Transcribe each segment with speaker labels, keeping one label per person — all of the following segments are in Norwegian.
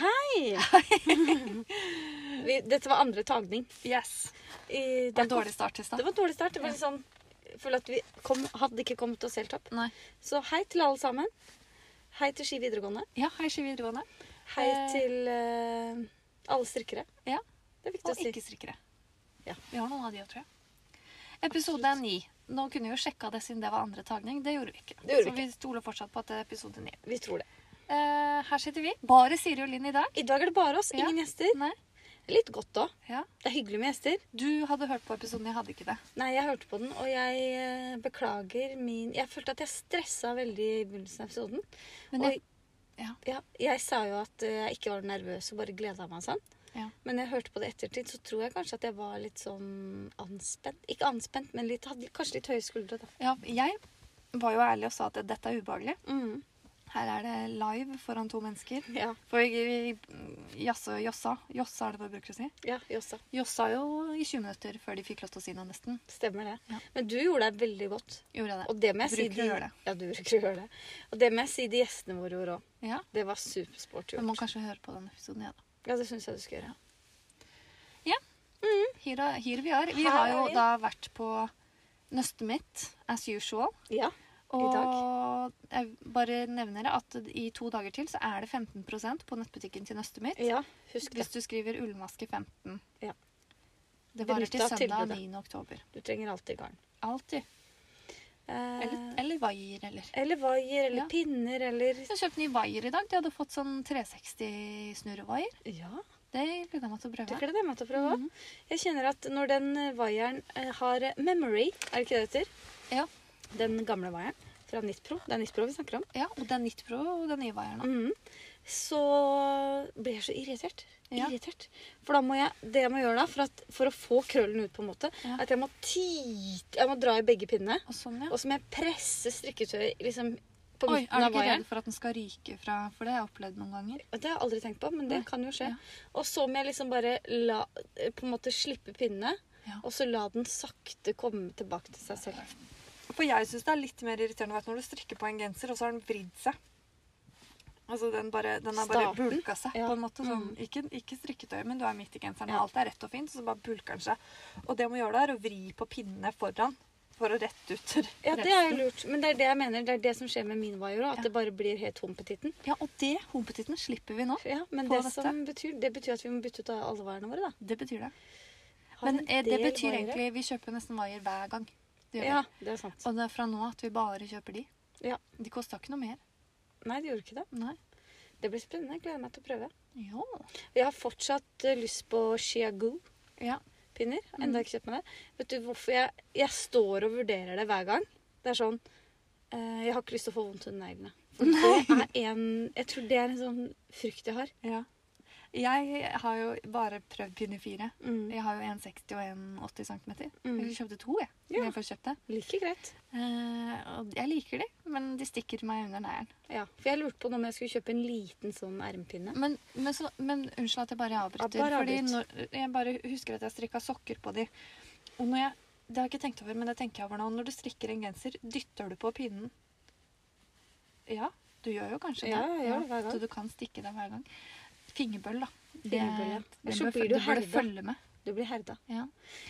Speaker 1: Hei! Vi- Dette var andre tagning.
Speaker 2: Yes.
Speaker 1: Eh,
Speaker 2: Det er en dårlig start til
Speaker 1: Det
Speaker 2: stad.
Speaker 1: var en dårlig start. Det var litt sånn, jeg føler at vi kom, hadde ikke kommet oss helt opp.
Speaker 2: Nei.
Speaker 1: Så hei til alle sammen. Hei til Ski videregående.
Speaker 2: Ja, hei, Ski videregående.
Speaker 1: Hei
Speaker 2: Eh.
Speaker 1: til eh, alle strikkere.
Speaker 2: Ja.
Speaker 1: Det er viktig å
Speaker 2: Og
Speaker 1: si.
Speaker 2: ikke-strikkere.
Speaker 1: Ja.
Speaker 2: Vi har noen av de òg, tror jeg. Episode ni. Nå kunne vi jo sjekka det siden det var andre tagning. Det gjorde vi ikke.
Speaker 1: Det gjorde vi
Speaker 2: Så vi stoler fortsatt på at det er episode ni.
Speaker 1: Vi tror det.
Speaker 2: Eh, her sitter vi. Bare Siri og Linn i dag.
Speaker 1: I dag er det bare oss.
Speaker 2: Ja.
Speaker 1: Ingen gjester.
Speaker 2: Nei.
Speaker 1: Litt godt òg.
Speaker 2: Ja.
Speaker 1: Det er hyggelig med gjester.
Speaker 2: Du hadde hørt på episoden, jeg hadde ikke det.
Speaker 1: Nei, jeg hørte på den, og jeg eh, beklager min Jeg følte at jeg stressa veldig i begynnelsen av episoden.
Speaker 2: Men
Speaker 1: og
Speaker 2: jeg, ja.
Speaker 1: Ja, jeg sa jo at eh, jeg ikke var nervøs og bare gleda meg sånn.
Speaker 2: Ja.
Speaker 1: Men når jeg hørte på det i ettertid, så tror jeg kanskje at jeg var litt sånn anspent. Ikke anspent, men litt, hadde kanskje litt høye skuldre, da.
Speaker 2: ja, jeg var jo ærlig og sa at dette er ubehagelig. Her er det live foran to mennesker.
Speaker 1: Ja,
Speaker 2: For jeg, jeg jasse og jossa. Jossa er det man bruker å si.
Speaker 1: ja, Jossa.
Speaker 2: Jossa jo i 20 minutter før de fikk lov til å si noe, nesten.
Speaker 1: Stemmer det.
Speaker 2: Ja.
Speaker 1: Men du gjorde deg veldig godt.
Speaker 2: Gjorde jeg det.
Speaker 1: Og det må jeg si
Speaker 2: Bruker
Speaker 1: de,
Speaker 2: å gjøre det.
Speaker 1: Ja, du bruker å gjøre det. Og det må jeg si de gjestene våre gjorde òg.
Speaker 2: Ja.
Speaker 1: Det var supersporty
Speaker 2: Vi må
Speaker 1: gjort.
Speaker 2: kanskje høre på den episoden, ja. da.
Speaker 1: Ja, det syns jeg du skal gjøre.
Speaker 2: Her, er- her vi er. Vi
Speaker 1: Her
Speaker 2: har
Speaker 1: er
Speaker 2: jo
Speaker 1: vi.
Speaker 2: da vært på nøstet mitt, as usual.
Speaker 1: Ja.
Speaker 2: Og
Speaker 1: I
Speaker 2: jeg bare nevner at i to dager til så er det 15 på nettbutikken til nøstet mitt.
Speaker 1: ja. Husk det.
Speaker 2: Hvis du skriver ullmaske 15.
Speaker 1: Ja.
Speaker 2: Det varer
Speaker 1: Benytt
Speaker 2: til
Speaker 1: deg av
Speaker 2: søndag
Speaker 1: tilbudet.
Speaker 2: 9. oktober.
Speaker 1: Du trenger alltid garn.
Speaker 2: Alltid.
Speaker 1: Eh,
Speaker 2: Eller, eller vaier, eller.
Speaker 1: eller vaier eller
Speaker 2: Ja.
Speaker 1: pinner eller
Speaker 2: Jeg kjøpte ny vaier i dag. De hadde fått sånn 360-snurrevaier.
Speaker 1: Ja.
Speaker 2: Det gleder jeg meg til å
Speaker 1: Det
Speaker 2: prøve. Mhm.
Speaker 1: gleder jeg meg til å prøve. også. Jeg kjenner at når den eh, vaieren eh, har eh, memory, er det ikke det det heter?
Speaker 2: Ja.
Speaker 1: Den gamle vaieren fra Nitpro, det er Nitpro vi snakker om,
Speaker 2: Ja, og den Nitpro og den nye vaieren. da.
Speaker 1: Mhm. så blir jeg så irritert.
Speaker 2: Ja.
Speaker 1: Irritert. For da må jeg, det jeg må gjøre da, for, at, for å få krøllen ut på en måte,
Speaker 2: Ja.
Speaker 1: er at jeg må tite, jeg må dra i begge pinnene,
Speaker 2: Og sånn, ja.
Speaker 1: og så må jeg presse strikketøyet liksom på
Speaker 2: Oi, er
Speaker 1: midten
Speaker 2: du
Speaker 1: av
Speaker 2: ikke
Speaker 1: vaieren.
Speaker 2: redd for at den skal ryke fra For det har jeg opplevd noen ganger.
Speaker 1: Det har jeg aldri tenkt på, men det
Speaker 2: Nei.
Speaker 1: kan jo skje.
Speaker 2: Ja.
Speaker 1: Og så må jeg liksom bare la, eh, på en måte slippe pinnene,
Speaker 2: Ja.
Speaker 1: og så la den sakte komme tilbake til seg selv.
Speaker 2: For jeg syns det er litt mer irriterende vet, du, når du strikker på en genser, og så har den vridd seg. Altså den, bare, den har bare
Speaker 1: Staten.
Speaker 2: bulka seg.
Speaker 1: Ja.
Speaker 2: på en måte sånn, ikke, ikke strikketøy, men du er midt i genseren, og
Speaker 1: Ja.
Speaker 2: alt er rett og fint, så bare bulker den seg. Og det må gjøre, det er å vri på pinnene foran for å rette ut
Speaker 1: Ja, det er jo
Speaker 2: resten.
Speaker 1: lurt. Men det er det jeg mener. Det er det som skjer med min vaier òg. At
Speaker 2: Ja.
Speaker 1: det bare blir helt tom petitten.
Speaker 2: Ja, og det, humpetitten, slipper vi nå.
Speaker 1: Ja, men
Speaker 2: På
Speaker 1: det
Speaker 2: dette.
Speaker 1: som betyr, det betyr at vi må bytte ut av alle vaierne våre, da.
Speaker 2: Det betyr det.
Speaker 1: Har
Speaker 2: Men
Speaker 1: en
Speaker 2: eh, det
Speaker 1: del
Speaker 2: betyr
Speaker 1: vaiere.
Speaker 2: egentlig Vi kjøper nesten vaier hver gang. Det gjør vi.
Speaker 1: Ja, det er sant.
Speaker 2: Og det er fra nå at vi bare kjøper de.
Speaker 1: Ja.
Speaker 2: De kosta ikke noe mer.
Speaker 1: Nei, det gjorde ikke det.
Speaker 2: Nei.
Speaker 1: Det blir spennende. Jeg gleder meg til å prøve.
Speaker 2: Jo.
Speaker 1: Jeg har fortsatt eh, lyst på Chiagoo-pinner.
Speaker 2: Ja. Mm.
Speaker 1: Enda ikke kjøpt meg det. Vet du hvorfor jeg, jeg står og vurderer det hver gang? Det er sånn eh, Jeg har ikke lyst til å få vondt under neglene. For det er en Jeg tror det er en sånn frykt jeg har.
Speaker 2: ja. Jeg har jo bare prøvd pinne fire.
Speaker 1: Mm.
Speaker 2: Jeg har jo 1,60 og 1,80 cm.
Speaker 1: Mm.
Speaker 2: Jeg kjøpte to, jeg.
Speaker 1: Ja.
Speaker 2: når Jeg først kjøpte.
Speaker 1: Like greit.
Speaker 2: Eh, og jeg liker de, men de stikker meg under neglen.
Speaker 1: Ja, for jeg lurte på nå om jeg skulle kjøpe en liten sånn ermpinne.
Speaker 2: Men, men, så- men unnskyld at jeg bare avbryter.
Speaker 1: Ja, bare
Speaker 2: fordi
Speaker 1: avbryt.
Speaker 2: når, jeg bare husker at jeg strikka sokker på de. Og når jeg, det har jeg ikke tenkt over, men det tenker jeg over nå. Når du strikker en genser, dytter du på pinnen? Ja, du gjør jo kanskje
Speaker 1: Ja,
Speaker 2: det.
Speaker 1: jeg gjør det hver gang.
Speaker 2: Så du kan stikke deg hver gang. Fingerbøll, da. Det-
Speaker 1: Fingerbøll, ja.
Speaker 2: Det,
Speaker 1: Så
Speaker 2: bør
Speaker 1: blir du
Speaker 2: føl- det bør du
Speaker 1: herda.
Speaker 2: følge med.
Speaker 1: Du blir herda.
Speaker 2: Ja.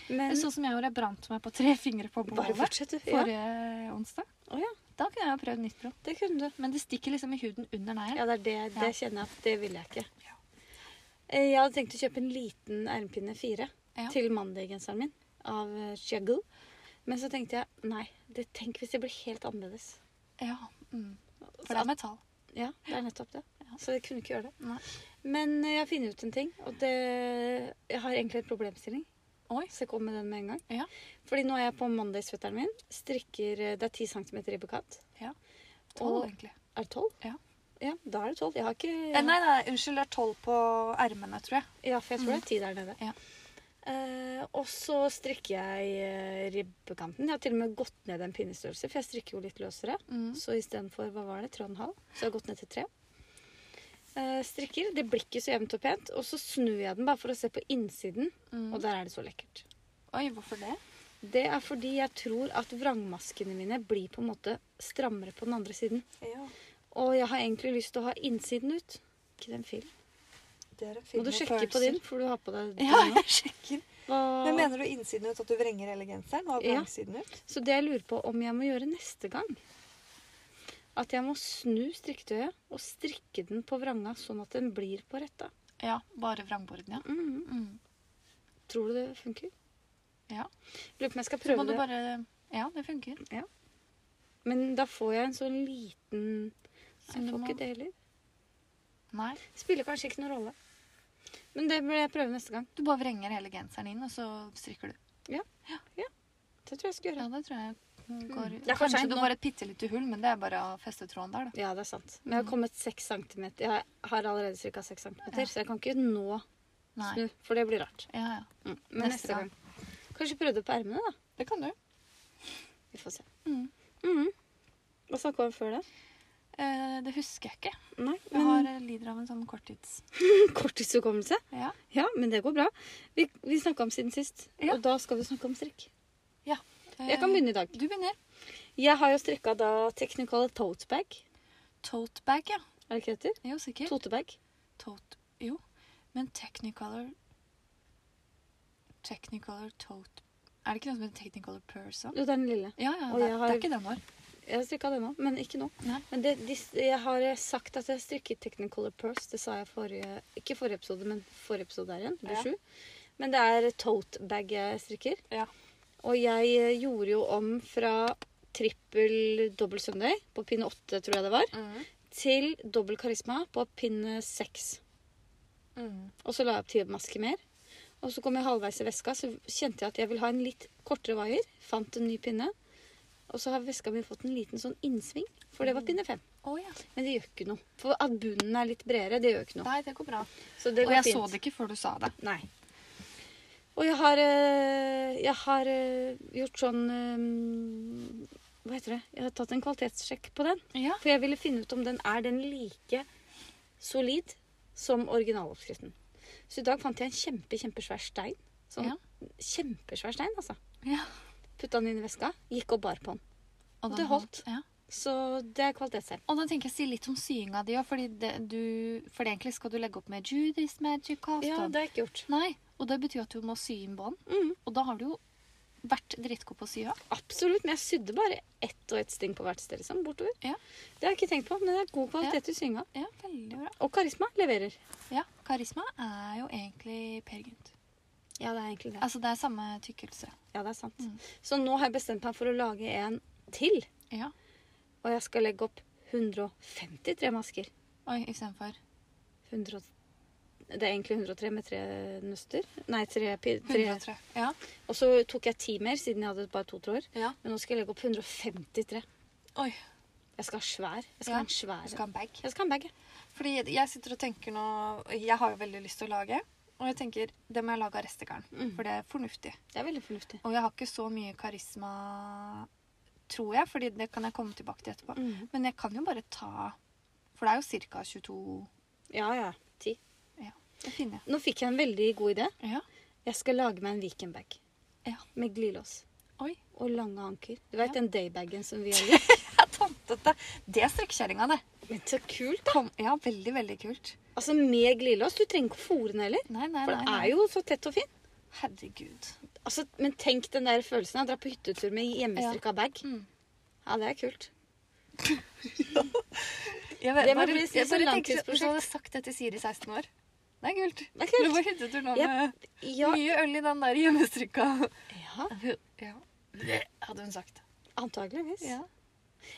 Speaker 1: Men
Speaker 2: Sånn som jeg gjorde, jeg brant meg på tre fingre på
Speaker 1: bare
Speaker 2: bålet
Speaker 1: fortsett, du. Ja.
Speaker 2: forrige onsdag.
Speaker 1: Å ja,
Speaker 2: Da kunne jeg jo prøvd nytt bro.
Speaker 1: det kunne du.
Speaker 2: Men det stikker liksom i huden under neglen.
Speaker 1: Ja, det er det, det
Speaker 2: Ja.
Speaker 1: kjenner jeg at det vil jeg ikke.
Speaker 2: Ja.
Speaker 1: Eh, Jeg hadde tenkt å kjøpe en liten ermpinne fire
Speaker 2: Ja.
Speaker 1: til mandaggenseren min av eh, Chiagoo. Men så tenkte jeg nei, det, tenk hvis det blir helt annerledes.
Speaker 2: Ja. Mm. For det er metall.
Speaker 1: Ja, det er nettopp det.
Speaker 2: Ja.
Speaker 1: Så jeg kunne ikke gjøre det.
Speaker 2: Nei.
Speaker 1: Men eh, jeg har funnet ut en ting, og det, jeg har egentlig en problemstilling.
Speaker 2: Oi.
Speaker 1: Så jeg kom med den med en gang.
Speaker 2: Ja.
Speaker 1: Fordi nå er jeg på mandagsføtteren min. Strikker eh, Det er 10 cm i bekant.
Speaker 2: Ja.
Speaker 1: Og-
Speaker 2: Tolv, egentlig.
Speaker 1: Er det 12?
Speaker 2: Ja.
Speaker 1: Ja, da er det 12. Jeg har ikke
Speaker 2: Eh, Nei, nei, unnskyld. Det er tolv på ermene, tror jeg.
Speaker 1: Ja, for jeg tror det er 10 der nede.
Speaker 2: Ja.
Speaker 1: Eh, og så strikker jeg eh, ribbekanten. Jeg har til og med gått ned en pinnestørrelse, for jeg strikker jo litt løsere.
Speaker 2: Mm,
Speaker 1: Så istedenfor hva var det, 3,5, så har jeg gått ned til 3. Eh, strikker. Det blir ikke så jevnt og pent. Og så snur jeg den bare for å se på innsiden,
Speaker 2: Mm.
Speaker 1: og der er det så lekkert.
Speaker 2: Oi, hvorfor det?
Speaker 1: Det er fordi jeg tror at vrangmaskene mine blir på en måte strammere på den andre siden.
Speaker 2: Ja,
Speaker 1: Og jeg har egentlig lyst til å ha innsiden ut. Ikke den film.
Speaker 2: det er en
Speaker 1: Må du sjekke på din, for du har på deg
Speaker 2: Ja,
Speaker 1: den nå.
Speaker 2: jeg sjekker.
Speaker 1: Hva-
Speaker 2: Men mener du innsiden ut? At du vrenger hele genseren? Og
Speaker 1: Ja.
Speaker 2: vrangsiden ut?
Speaker 1: Så det jeg lurer på om jeg må gjøre neste gang, at jeg må snu strikketøyet og strikke den på vranga sånn at den blir på retta.
Speaker 2: Ja, bare vrangborden, ja.
Speaker 1: Mhm.
Speaker 2: Mm.
Speaker 1: Tror du det funker?
Speaker 2: Ja.
Speaker 1: Lurer på om jeg skal
Speaker 2: Så
Speaker 1: prøve
Speaker 2: må du
Speaker 1: det.
Speaker 2: bare Ja, det funker.
Speaker 1: Men da får jeg en sånn liten Nei,
Speaker 2: Så
Speaker 1: jeg
Speaker 2: du
Speaker 1: får
Speaker 2: må-
Speaker 1: ikke det heller.
Speaker 2: Nei.
Speaker 1: Spiller kanskje ikke noen rolle. Men det bør jeg prøve neste gang.
Speaker 2: Du bare vrenger hele genseren inn, og så strikker du.
Speaker 1: Det tror jeg jeg skal gjøre.
Speaker 2: Ja, det tror jeg går
Speaker 1: Det er for
Speaker 2: Kanskje
Speaker 1: sent
Speaker 2: du
Speaker 1: nå.
Speaker 2: får et bitte lite hull, men det er bare av festetråden der, da.
Speaker 1: Ja, det er sant. Men jeg har kommet seks centimeter. Jeg har allerede strikka seks centimeter,
Speaker 2: Mm. Ja.
Speaker 1: så jeg kan ikke nå
Speaker 2: Nei.
Speaker 1: snu, for det blir rart.
Speaker 2: Ja, ja.
Speaker 1: Mm. Men neste,
Speaker 2: Neste gang.
Speaker 1: gang. Kanskje prøve det på ermene, da.
Speaker 2: Det kan du.
Speaker 1: Vi får se.
Speaker 2: Mm.
Speaker 1: Mhm. Hva snakka vi om før det?
Speaker 2: Eh, det husker jeg ikke.
Speaker 1: Nei,
Speaker 2: Jeg
Speaker 1: men
Speaker 2: har, lider av en sånn korttids...
Speaker 1: korttidshukommelse.
Speaker 2: Ja.
Speaker 1: Ja, men det går bra. Vi, vi snakka om siden sist,
Speaker 2: Ja.
Speaker 1: og da skal vi snakke om strikk. Jeg kan
Speaker 2: Eh,
Speaker 1: begynne i dag.
Speaker 2: Du begynner.
Speaker 1: Jeg har jo strikka da Technical tote bag.
Speaker 2: Tote bag, ja.
Speaker 1: Er det ikke det heter?
Speaker 2: Jo, sikkert.
Speaker 1: Totebag.
Speaker 2: Tote Jo. Men Technicolor Technicolor tote Er det ikke noe som heter Technicolor purse? da?
Speaker 1: Jo, det er den lille.
Speaker 2: Ja, ja.
Speaker 1: Og
Speaker 2: Det,
Speaker 1: jeg har-
Speaker 2: det er ikke den vår.
Speaker 1: Jeg har strikka den òg, men ikke nå.
Speaker 2: Nei.
Speaker 1: Men det, de, jeg har sagt at jeg strikket Technicolor Purse. Det sa jeg forrige Ikke forrige episode, men forrige episode der igjen. Det blir
Speaker 2: Ja.
Speaker 1: sju. Men det er tote bag jeg strikker.
Speaker 2: Ja.
Speaker 1: Og jeg eh, gjorde jo om fra trippel dobbel søndag, på pinne åtte, tror jeg det var, til dobbel karisma på pinne seks. Og så la jeg opp til maske mer. Og så kom jeg halvveis i veska, så kjente jeg at jeg vil ha en litt kortere vaier. Fant en ny pinne. Og så har veska mi fått en liten sånn innsving, for det var pinne fem.
Speaker 2: Å ja.
Speaker 1: Men det gjør ikke noe. For at bunnen er litt bredere, det gjør ikke noe.
Speaker 2: Nei, det går bra.
Speaker 1: Så det
Speaker 2: Og
Speaker 1: går
Speaker 2: jeg
Speaker 1: fint.
Speaker 2: så det ikke før du sa det.
Speaker 1: Nei. Og jeg har, eh, jeg har eh, gjort sånn eh, Hva heter det? Jeg har tatt en kvalitetssjekk på den.
Speaker 2: Ja.
Speaker 1: For jeg ville finne ut om den er den like solid som originaloppskriften. Så i dag fant jeg en kjempe, kjempesvær stein. Sånn
Speaker 2: Ja.
Speaker 1: kjempesvær stein, altså.
Speaker 2: Ja.
Speaker 1: Putta den inn i veska, gikk og bar på den.
Speaker 2: Og
Speaker 1: Det
Speaker 2: den
Speaker 1: holdt.
Speaker 2: Ja.
Speaker 1: Så det er kvalitetsstein.
Speaker 2: Og da tenker jeg å si litt om syinga di òg, fordi det, du, for det egentlig skal du legge opp med Judy's Magic Cast.
Speaker 1: Ja,
Speaker 2: og-
Speaker 1: det har jeg ikke gjort.
Speaker 2: Nei, og det betyr at du må sy inn bånd.
Speaker 1: Mhm.
Speaker 2: Og da har du jo vært drittgod på å sy òg.
Speaker 1: Absolutt, men jeg sydde bare ett og ett sting på hvert sted. liksom, bortover.
Speaker 2: Ja.
Speaker 1: Det har jeg ikke tenkt på, men det er god kvalitet i synga.
Speaker 2: Ja, veldig bra.
Speaker 1: Og karisma leverer.
Speaker 2: Ja, Karisma er jo egentlig Per Gynt.
Speaker 1: Ja, det er egentlig det.
Speaker 2: Altså det er samme tykkelse.
Speaker 1: Ja, det er sant.
Speaker 2: Mm.
Speaker 1: Så nå har jeg bestemt meg for å lage en til.
Speaker 2: Ja.
Speaker 1: Og jeg skal legge opp 153 masker.
Speaker 2: Oi, istedenfor
Speaker 1: 100, det er egentlig 103 med tre nøster. Nei, tre, pi- tre.
Speaker 2: 103. Ja.
Speaker 1: Og så tok jeg ti mer, siden jeg hadde bare to tråder.
Speaker 2: ja.
Speaker 1: Men nå skal jeg legge opp 153.
Speaker 2: Oi.
Speaker 1: Jeg skal ha svær. Jeg skal
Speaker 2: Ja,
Speaker 1: ha en svær.
Speaker 2: Du skal ha en bag.
Speaker 1: Jeg skal ha en bag. jeg.
Speaker 2: Fordi jeg sitter og tenker nå Jeg har jo veldig lyst til å lage. Og jeg tenker det må jeg lage av restegarn,
Speaker 1: Mm.
Speaker 2: for det er fornuftig.
Speaker 1: Det er veldig fornuftig.
Speaker 2: Og jeg har ikke så mye karisma, tror jeg, fordi det kan jeg komme tilbake til etterpå.
Speaker 1: Mhm.
Speaker 2: Men jeg kan jo bare ta For det er jo ca. 22
Speaker 1: Ja, ja. Ti.
Speaker 2: Det finner jeg.
Speaker 1: Nå fikk jeg en veldig god idé.
Speaker 2: Ja.
Speaker 1: Jeg skal lage meg en weekendbag.
Speaker 2: Ja.
Speaker 1: Med glidelås.
Speaker 2: Oi.
Speaker 1: Og lange anker. Du veit
Speaker 2: Ja.
Speaker 1: den daybagen som vi har gjort?
Speaker 2: Jeg er tantete. Det er strikkekjerringa, det.
Speaker 1: Men så kult, da!
Speaker 2: Kom, ja, veldig, veldig kult.
Speaker 1: Altså med glidelås. Du trenger ikke å fòre den heller.
Speaker 2: Nei, nei,
Speaker 1: For
Speaker 2: nei.
Speaker 1: den
Speaker 2: nei.
Speaker 1: er jo så tett og fin.
Speaker 2: Herregud.
Speaker 1: Altså, men tenk den der følelsen av å dra på hyttetur med hjemmestrikka bag.
Speaker 2: Mm.
Speaker 1: Ja, det er kult.
Speaker 2: Jeg vet,
Speaker 1: Det må
Speaker 2: bare,
Speaker 1: bli et
Speaker 2: jeg
Speaker 1: sånn
Speaker 2: bare tenker
Speaker 1: langtidsprosjekt.
Speaker 2: Hvis du hadde sagt det til Siri 16 år Det er kult.
Speaker 1: Det er
Speaker 2: Du
Speaker 1: kult.
Speaker 2: var hyttetur nå
Speaker 1: Ja.
Speaker 2: med
Speaker 1: Ja,
Speaker 2: mye øl i den der hjemmestrikka.
Speaker 1: ja
Speaker 2: Ja. Hadde hun sagt.
Speaker 1: antageligvis.
Speaker 2: Ja,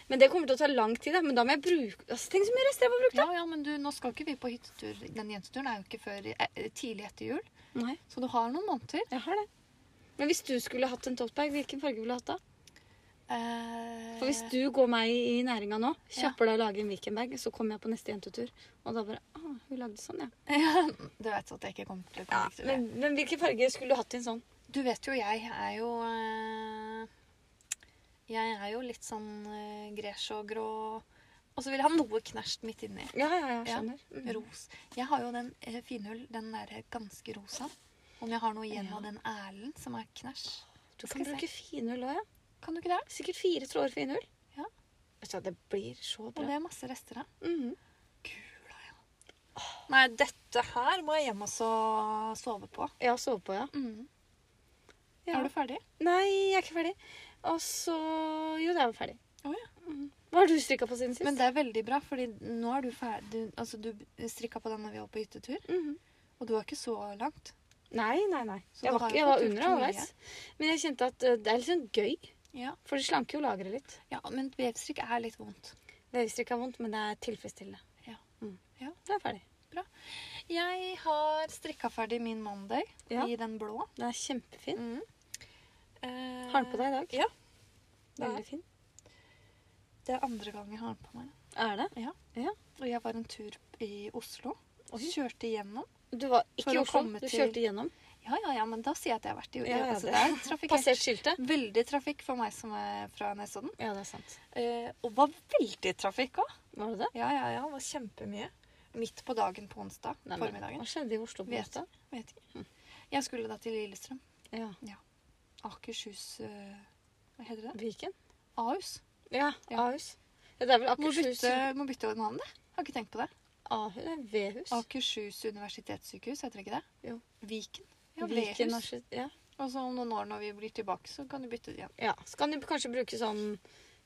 Speaker 1: Men det kommer til å ta lang tid, da. Men da må jeg bruke altså, Tenk så mye rester jeg må bruke!
Speaker 2: ja, ja men du, nå skal ikke vi på hyttetur. Den jenteturen er jo ikke før i- eh, tidlig etter jul.
Speaker 1: Nei,
Speaker 2: Så du har noen måneder.
Speaker 1: jeg har det. Men hvis du skulle hatt en totebag, hvilken farge ville du hatt da?
Speaker 2: Eh,
Speaker 1: For hvis du går meg i næringa nå, kjapper deg å lage en weekendbag, så kommer jeg på neste jentetur, og da bare Å, hun lagde sånn, ja.
Speaker 2: ja, Du vet at jeg ikke kommer til å komme til det.
Speaker 1: men, men hvilken farge skulle du hatt i en sånn?
Speaker 2: Du vet jo, jeg er jo eh, Jeg er jo litt sånn eh, gresj og grå. Og så vil jeg ha noe knerst midt inni.
Speaker 1: Ja, ja, ja,
Speaker 2: Ja.
Speaker 1: skjønner. Mm.
Speaker 2: Ros. Jeg har jo den eh, finhull, den der ganske rosa. Om jeg har noe igjen av den Erlend som er knæsj.
Speaker 1: Du
Speaker 2: Skal
Speaker 1: kan
Speaker 2: jeg
Speaker 1: bruke finull òg, ja.
Speaker 2: Kan du ikke det?
Speaker 1: Sikkert fire tråder finull.
Speaker 2: Ja.
Speaker 1: Vet du, hva, det blir så
Speaker 2: Og
Speaker 1: bra.
Speaker 2: det er masse rester av.
Speaker 1: Mhm.
Speaker 2: Gula, ja. Nei, dette her må jeg hjem og så sove på.
Speaker 1: Ja, sove på, ja. ja.
Speaker 2: Mm. Er du ferdig?
Speaker 1: Nei, jeg er ikke ferdig. Og så Jo, da er vi ferdig.
Speaker 2: Å, ja.
Speaker 1: Mhm. Hva har du strikka på siden sist?
Speaker 2: Men det er veldig bra, fordi nå er du ferdig. Du, altså, du strikka på den når vi var på hyttetur,
Speaker 1: Mhm.
Speaker 2: og du var ikke så langt.
Speaker 1: Nei, nei, nei.
Speaker 2: Så
Speaker 1: Jeg
Speaker 2: du
Speaker 1: var,
Speaker 2: har
Speaker 1: ikke-
Speaker 2: jo
Speaker 1: jeg var
Speaker 2: fått
Speaker 1: under
Speaker 2: gjort mye.
Speaker 1: halvveis. Men jeg kjente at eh, det er liksom gøy.
Speaker 2: Ja,
Speaker 1: For det slanker jo lageret litt.
Speaker 2: ja men vevstrikk er litt vondt.
Speaker 1: Vevstrikk er vondt, men det er tilfredsstillende.
Speaker 2: Ja.
Speaker 1: Mm.
Speaker 2: Ja.
Speaker 1: Det er ferdig.
Speaker 2: Jeg har strikka ferdig min mandag
Speaker 1: Ja.
Speaker 2: i den blå.
Speaker 1: Den er kjempefin.
Speaker 2: Mm. Eh,
Speaker 1: Har den på deg i dag?
Speaker 2: Ja. det er-
Speaker 1: Veldig fin.
Speaker 2: Det er andre gang jeg har den på meg.
Speaker 1: Er det?
Speaker 2: Og jeg var en tur i Oslo og
Speaker 1: Oi.
Speaker 2: kjørte igjennom.
Speaker 1: Du var ikke
Speaker 2: For
Speaker 1: i
Speaker 2: å
Speaker 1: Oslo.
Speaker 2: komme
Speaker 1: Du
Speaker 2: til-
Speaker 1: kjørte gjennom.
Speaker 2: Ja, ja, ja, men da sier jeg at jeg har vært i
Speaker 1: Ja, ja,
Speaker 2: altså,
Speaker 1: det-
Speaker 2: det er trafikkert.
Speaker 1: Passert skiltet.
Speaker 2: Veldig trafikk for meg som er fra Nesodden.
Speaker 1: Ja, det er sant.
Speaker 2: Eh, og var veldig trafikk òg.
Speaker 1: Var det det?
Speaker 2: Ja, ja, ja. Det var kjempemye. Midt på dagen på onsdag
Speaker 1: Nei, men
Speaker 2: formiddagen.
Speaker 1: Hva skjedde i Oslo på
Speaker 2: Vet.
Speaker 1: onsdag?
Speaker 2: Vet ikke. Jeg skulle da til Lillestrøm.
Speaker 1: Ja.
Speaker 2: Akershus eh, Hva heter det?
Speaker 1: Viken?
Speaker 2: Ahus.
Speaker 1: Ja.
Speaker 2: Ja.
Speaker 1: Ahus. Ja, det er vel
Speaker 2: Må
Speaker 1: Akershus
Speaker 2: bytte, må bytte navn, det. Har ikke tenkt på det.
Speaker 1: Ahus? Det er Vehus.
Speaker 2: Akershus universitetssykehus, heter det ikke det?
Speaker 1: Jo.
Speaker 2: Viken. Ja,
Speaker 1: Viken
Speaker 2: Vehus.
Speaker 1: Akershus- Ja.
Speaker 2: Og så om noen år når vi blir tilbake, så kan du bytte det igjen.
Speaker 1: ja. Så kan du kanskje bruke sånn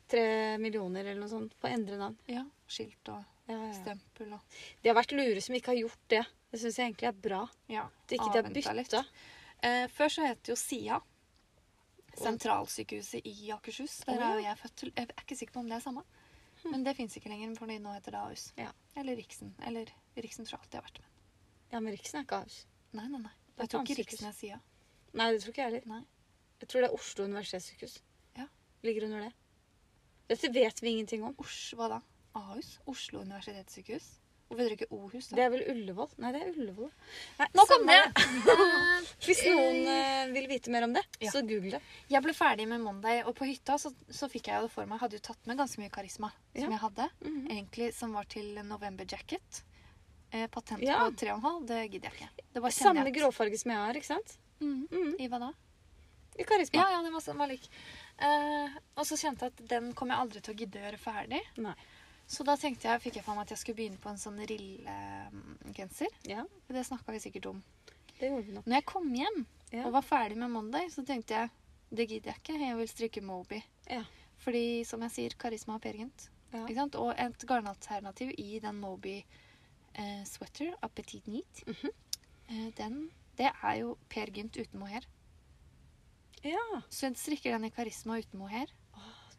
Speaker 1: tre millioner eller noe sånt på å endre navn.
Speaker 2: Ja, Skilt og
Speaker 1: Ja, ja, ja.
Speaker 2: stempel og
Speaker 1: De har vært lure som ikke har gjort det. Det syns jeg egentlig er bra.
Speaker 2: Ja.
Speaker 1: At ikke de har
Speaker 2: Avventa litt.
Speaker 1: bytta.
Speaker 2: Eh, før så het det jo SIA. Sentralsykehuset i Akershus. Der
Speaker 1: Å,
Speaker 2: er
Speaker 1: ja.
Speaker 2: jo
Speaker 1: Hm.
Speaker 2: jeg født til. Jeg er ikke sikker på om det er samme. Men det fins ikke lenger, for nå heter det Ahus.
Speaker 1: Ja.
Speaker 2: Eller Riksen. Eller Riksen tror jeg alltid jeg har vært med.
Speaker 1: Ja, men Riksen er ikke Ahus.
Speaker 2: Nei, nei, nei.
Speaker 1: Det er
Speaker 2: Jeg tror
Speaker 1: et
Speaker 2: ikke
Speaker 1: annet
Speaker 2: Riksen er SIA.
Speaker 1: Nei, det tror ikke jeg heller.
Speaker 2: Nei.
Speaker 1: Jeg tror det er Oslo universitetssykehus.
Speaker 2: Ja.
Speaker 1: Ligger under det. Dette vet vi ingenting om.
Speaker 2: Os, hva da? Ahus? Oslo universitetssykehus? Hvorfor heter det ikke Ohus?
Speaker 1: Det
Speaker 2: Da?
Speaker 1: er vel Ullevål? Nei, det er Ullevål. Nei,
Speaker 2: Nå kom
Speaker 1: samme
Speaker 2: det!
Speaker 1: Hvis noen eh, vil vite mer om det,
Speaker 2: Ja.
Speaker 1: så google det.
Speaker 2: Jeg ble ferdig med mandag, og på hytta så, så fikk jeg jo det for meg. Hadde jo tatt med ganske mye karisma
Speaker 1: Ja.
Speaker 2: som jeg hadde.
Speaker 1: Mhm.
Speaker 2: Egentlig som var til November Jacket. Eh, patent
Speaker 1: Ja.
Speaker 2: på 3,5, det gidder jeg ikke. Det var
Speaker 1: Samme
Speaker 2: kjennelighet.
Speaker 1: gråfarge som jeg har, ikke sant?
Speaker 2: Mhm.
Speaker 1: Mhm.
Speaker 2: I hva da?
Speaker 1: I karisma.
Speaker 2: Ja, ja, den var, den var lik. Eh, og så kjente jeg at den kom jeg aldri til å gidde å gjøre ferdig.
Speaker 1: Nei.
Speaker 2: Så da tenkte jeg, fikk jeg for meg at jeg skulle begynne på en sånn rillegenser.
Speaker 1: Ja.
Speaker 2: Det snakka vi sikkert om.
Speaker 1: det gjorde vi nå.
Speaker 2: Når jeg kom hjem
Speaker 1: Ja.
Speaker 2: og var ferdig med mandag, så tenkte jeg det gidder jeg ikke. Jeg vil stryke Moby.
Speaker 1: Ja.
Speaker 2: Fordi, som jeg sier, karisma er pergent.
Speaker 1: Ja.
Speaker 2: Ikke sant? Og et garnalternativ i den Moby eh, sweater, Appetit Neat,
Speaker 1: Mhm.
Speaker 2: eh, den, det er jo Per Gynt uten mohair.
Speaker 1: Ja,
Speaker 2: Så jeg strikker den i karisma uten mohair.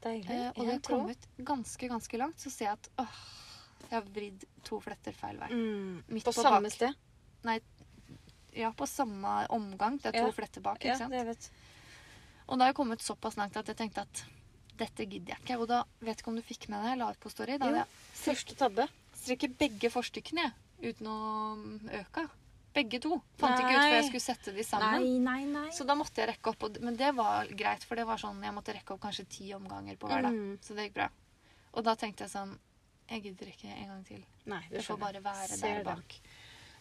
Speaker 1: deilig.
Speaker 2: Eh, og det
Speaker 1: En
Speaker 2: har
Speaker 1: tråd.
Speaker 2: kommet ganske, ganske langt. Så ser jeg at åh, jeg har vridd to fletter feil vei.
Speaker 1: Mm.
Speaker 2: Midt
Speaker 1: På
Speaker 2: på
Speaker 1: samme
Speaker 2: bak.
Speaker 1: sted.
Speaker 2: Ja, på samme omgang. Det er to
Speaker 1: Ja.
Speaker 2: fletter bak. ikke
Speaker 1: Ja,
Speaker 2: sant?
Speaker 1: det vet
Speaker 2: Og da har jeg kommet såpass langt at jeg tenkte at dette gidder jeg ikke. Og da vet ikke om du fikk med deg, jeg la ut på story, da
Speaker 1: Jo.
Speaker 2: hadde jeg
Speaker 1: Første tabbe.
Speaker 2: strikket begge forstykkene jeg, uten å øke. Begge to. Fant ikke ut før jeg
Speaker 1: Nei.
Speaker 2: skulle sette de sammen.
Speaker 1: nei, nei.
Speaker 2: Så da måtte jeg rekke opp, og d- men det var greit, for det var sånn, jeg måtte rekke opp kanskje ti omganger på hver da.
Speaker 1: Mm.
Speaker 2: Så det gikk bra. Og da tenkte jeg sånn, jeg gidder ikke en gang til.
Speaker 1: Nei, det
Speaker 2: Det får
Speaker 1: skjønner jeg.
Speaker 2: bare være
Speaker 1: Ser den.
Speaker 2: der bak.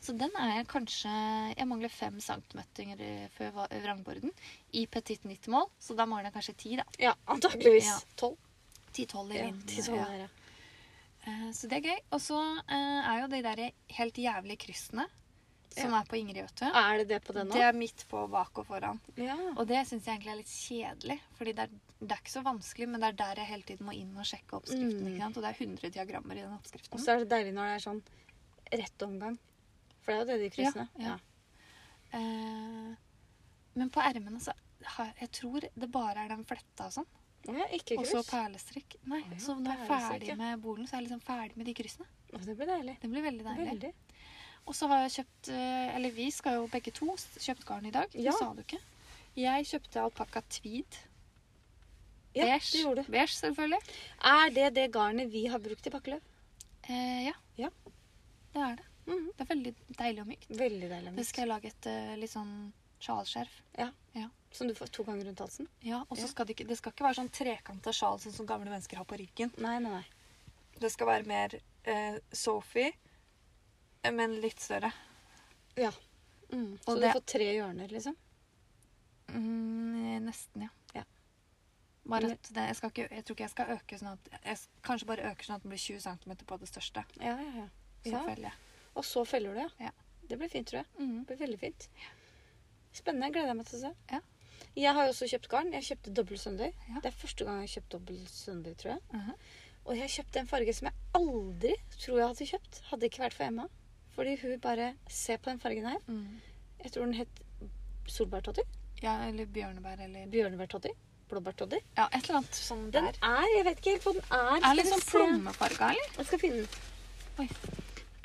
Speaker 2: Så den er jeg kanskje Jeg mangler fem centimeter før va- vrangborden i petit 90-mål, så da mangler jeg kanskje ti, da.
Speaker 1: Ja, antakeligvis.
Speaker 2: Ja.
Speaker 1: Tolv.
Speaker 2: 10-12 i
Speaker 1: Ja,
Speaker 2: vinden,
Speaker 1: til sånn sånne
Speaker 2: ja.
Speaker 1: her, ja.
Speaker 2: Eh, Så det er gøy. Og så eh, er jo de der helt jævlige kryssene som er på Ingrid, vet du.
Speaker 1: Er det det på den nå?
Speaker 2: Det er midt på, bak og foran.
Speaker 1: Ja.
Speaker 2: Og det syns jeg egentlig er litt kjedelig. Fordi det er, det er ikke så vanskelig, men det er der jeg hele tiden må inn og sjekke oppskriften.
Speaker 1: Mm.
Speaker 2: ikke sant? Og det er 100 diagrammer i den
Speaker 1: Og
Speaker 2: oppskriften.
Speaker 1: så er det deilig når det er sånn rett omgang. For det er jo det de kryssene.
Speaker 2: Ja, ja. Eh, men på ermene så har Jeg tror det bare er den fletta og sånn.
Speaker 1: Å ja, ikke
Speaker 2: Og
Speaker 1: kryss.
Speaker 2: så perlestrikk. Nei,
Speaker 1: Å ja,
Speaker 2: så når jeg er
Speaker 1: perlestrikk, ja.
Speaker 2: ferdig med bolen, så er jeg liksom ferdig med de kryssene.
Speaker 1: Å, det blir deilig.
Speaker 2: Det blir veldig deilig.
Speaker 1: Veldig.
Speaker 2: Og så har jeg kjøpt eh, Eller vi skal jo begge to s- kjøpt garn i dag.
Speaker 1: Ja.
Speaker 2: Det sa du ikke. Jeg kjøpte alpakka tweed.
Speaker 1: Ja,
Speaker 2: Beige.
Speaker 1: det gjorde du.
Speaker 2: Beige, selvfølgelig.
Speaker 1: Er det det garnet vi har brukt i Bakkeløv?
Speaker 2: Eh, ja.
Speaker 1: Ja.
Speaker 2: Det er det.
Speaker 1: Mhm.
Speaker 2: Det er veldig deilig og mykt.
Speaker 1: Veldig deilig.
Speaker 2: Det
Speaker 1: Mitt.
Speaker 2: skal jeg lage et eh, litt sånn sjalskjerf.
Speaker 1: Som du får to ganger rundt halsen?
Speaker 2: Ja, og så
Speaker 1: Ja.
Speaker 2: skal det ikke Det skal ikke være sånn trekanta sjal sånn som gamle mennesker har på ryggen.
Speaker 1: Nei, nei, nei.
Speaker 2: Det skal være mer eh, Sophie, eh, men litt større.
Speaker 1: Ja. Mm. Så
Speaker 2: Og
Speaker 1: du
Speaker 2: det-
Speaker 1: får tre hjørner, liksom?
Speaker 2: Mm, nesten, ja.
Speaker 1: Ja.
Speaker 2: Bare
Speaker 1: Eller-
Speaker 2: at det, jeg, skal ikke, jeg tror ikke jeg skal øke sånn at jeg, s- Kanskje bare øker sånn at den blir 20 cm på det største.
Speaker 1: Ja, ja, ja.
Speaker 2: Så
Speaker 1: Ja.
Speaker 2: følger jeg.
Speaker 1: Og så feller du, ja.
Speaker 2: Ja.
Speaker 1: Det blir fint, tror jeg.
Speaker 2: Mm.
Speaker 1: Det blir veldig fint. Spennende. Gleder jeg meg til å se.
Speaker 2: Ja.
Speaker 1: Jeg har jo også kjøpt garn. Jeg kjøpte dobbel søndag.
Speaker 2: Ja.
Speaker 1: Det er første gang jeg har kjøpt dobbel søndag, tror jeg.
Speaker 2: Mhm.
Speaker 1: Og jeg kjøpte en farge som jeg aldri tror jeg hadde kjøpt. Hadde ikke vært for Emma. Fordi hun bare Se på den fargen her.
Speaker 2: Mm.
Speaker 1: Jeg tror den het solbærtoddy.
Speaker 2: Ja, eller bjørnebær eller
Speaker 1: Bjørnebærtoddy. Blåbærtoddy.
Speaker 2: Ja, et eller annet sånn
Speaker 1: Den
Speaker 2: der.
Speaker 1: er Jeg vet ikke helt hva den er.
Speaker 2: Er
Speaker 1: Skal
Speaker 2: litt
Speaker 1: vi
Speaker 2: sånn
Speaker 1: se?
Speaker 2: plommefarga, eller?
Speaker 1: Jeg skal finne den.
Speaker 2: Oi.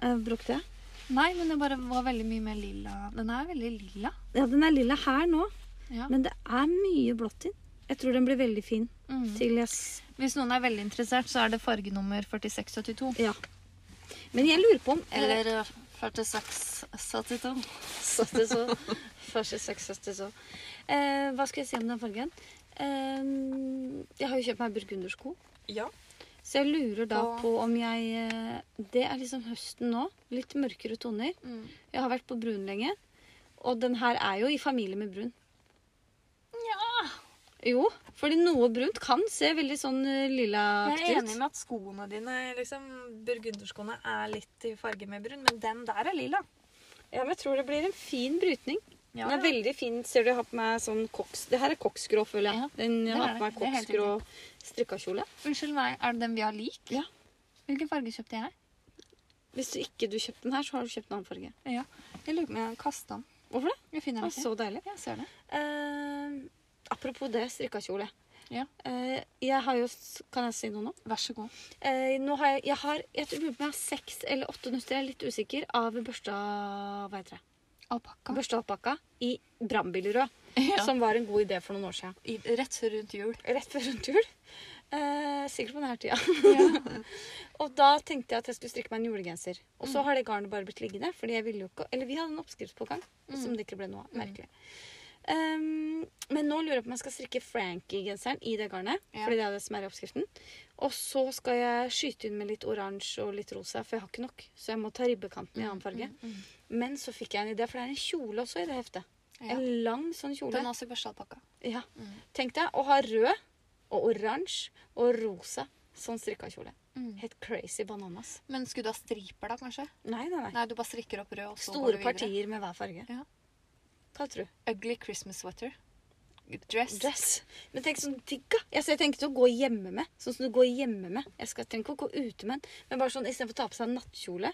Speaker 1: Eh, Bråkte jeg?
Speaker 2: Nei, men det bare var veldig mye mer lilla. Den er veldig lilla.
Speaker 1: Ja, den er lilla her nå,
Speaker 2: Ja.
Speaker 1: men det er mye blått i den. Jeg tror den blir veldig fin.
Speaker 2: Mm.
Speaker 1: Til jeg s-
Speaker 2: Hvis noen er veldig interessert, så er det fargenummer 4672.
Speaker 1: Ja. Men jeg lurer på om Eller
Speaker 2: Eller 4672.
Speaker 1: søster så Første seks søster så. Eh, hva skal jeg si om den fargen? Eh, jeg har jo kjøpt meg burgundersko,
Speaker 2: Ja.
Speaker 1: så jeg lurer da
Speaker 2: Åh.
Speaker 1: på om jeg eh, Det er liksom høsten nå. Litt mørkere toner.
Speaker 2: Mm.
Speaker 1: Jeg har vært på brun lenge, og den her er jo i familie med brun. Jo, fordi noe brunt kan se veldig sånn eh,
Speaker 2: Jeg
Speaker 1: lillaaktig
Speaker 2: er
Speaker 1: ut.
Speaker 2: enig med at skoene dine, liksom, burgunderskoene, er litt i farge med brun, men den der er lilla.
Speaker 1: Ja, men jeg tror det blir en fin brytning.
Speaker 2: Ja,
Speaker 1: Den er
Speaker 2: ja.
Speaker 1: veldig fin. Ser du, jeg har på meg sånn koks... Det her er koksgrå, føler jeg.
Speaker 2: Ja,
Speaker 1: Den, jeg
Speaker 2: det
Speaker 1: har
Speaker 2: er
Speaker 1: på meg
Speaker 2: det. Det er helt
Speaker 1: koksgrå strikkakjole.
Speaker 2: Unnskyld meg, er det den vi har lik?
Speaker 1: Ja.
Speaker 2: Hvilken farge kjøpte jeg?
Speaker 1: Hvis du ikke du kjøpte den her, så har du kjøpt en annen farge.
Speaker 2: Ja. Jeg lurer på om jeg kastet den.
Speaker 1: Hvorfor det?
Speaker 2: Jeg
Speaker 1: Det
Speaker 2: finner
Speaker 1: var
Speaker 2: den ikke.
Speaker 1: så deilig.
Speaker 2: Jeg ser det.
Speaker 1: Eh, apropos det, strikkakjole.
Speaker 2: Ja.
Speaker 1: Eh, jeg har jo s- Kan jeg si noe nå?
Speaker 2: Vær så god.
Speaker 1: Eh, nå har jeg, jeg har jeg tror jeg har seks eller åtte nøster, jeg er litt usikker, av børsta hva heter det?
Speaker 2: Alpakka.
Speaker 1: Børsta alpakka i brannbilrød.
Speaker 2: Ja.
Speaker 1: Som var en god idé for noen år siden.
Speaker 2: I, rett før rundt jul.
Speaker 1: Rett før rundt jul. Eh, sikkert på denne tida.
Speaker 2: Ja.
Speaker 1: Og da tenkte jeg at jeg skulle strikke meg en julegenser. Og
Speaker 2: Mm.
Speaker 1: så har det garnet bare blitt liggende. fordi jeg ville jo ikke... Eller vi hadde en oppskriftspågang
Speaker 2: Mm.
Speaker 1: som det ikke ble noe av. Merkelig. Um, men nå lurer jeg på om jeg skal strikke Frankie-genseren i det garnet.
Speaker 2: Ja.
Speaker 1: Fordi det er det som er i oppskriften. Og så skal jeg skyte inn med litt oransje og litt rosa, for jeg har ikke nok. Så jeg må ta ribbekanten i
Speaker 2: Mm,
Speaker 1: annen farge. Men så fikk jeg en idé, for det er en kjole også i det heftet.
Speaker 2: Ja.
Speaker 1: En lang sånn kjole.
Speaker 2: Den er også i børsta alpakka.
Speaker 1: Ja.
Speaker 2: Mm.
Speaker 1: Tenk deg å ha rød og oransje og rosa sånn strikka kjole.
Speaker 2: Mm.
Speaker 1: Helt crazy bananas.
Speaker 2: Men skulle du ha striper da, kanskje?
Speaker 1: Nei, nei, nei.
Speaker 2: Nei, du bare strikker opp rød, og så går
Speaker 1: Store
Speaker 2: du videre.
Speaker 1: partier med hver farge.
Speaker 2: Ja.
Speaker 1: Hva tror du?
Speaker 2: Ugly Christmas sweater. Dress.
Speaker 1: Dress. Men tenk sånn digg, da. Jeg ser- jeg tenkte å gå hjemme med. Sånn som du går hjemme med. Jeg skal, trenger ikke å gå ute med den, men bare sånn istedenfor å ta på seg en nattkjole.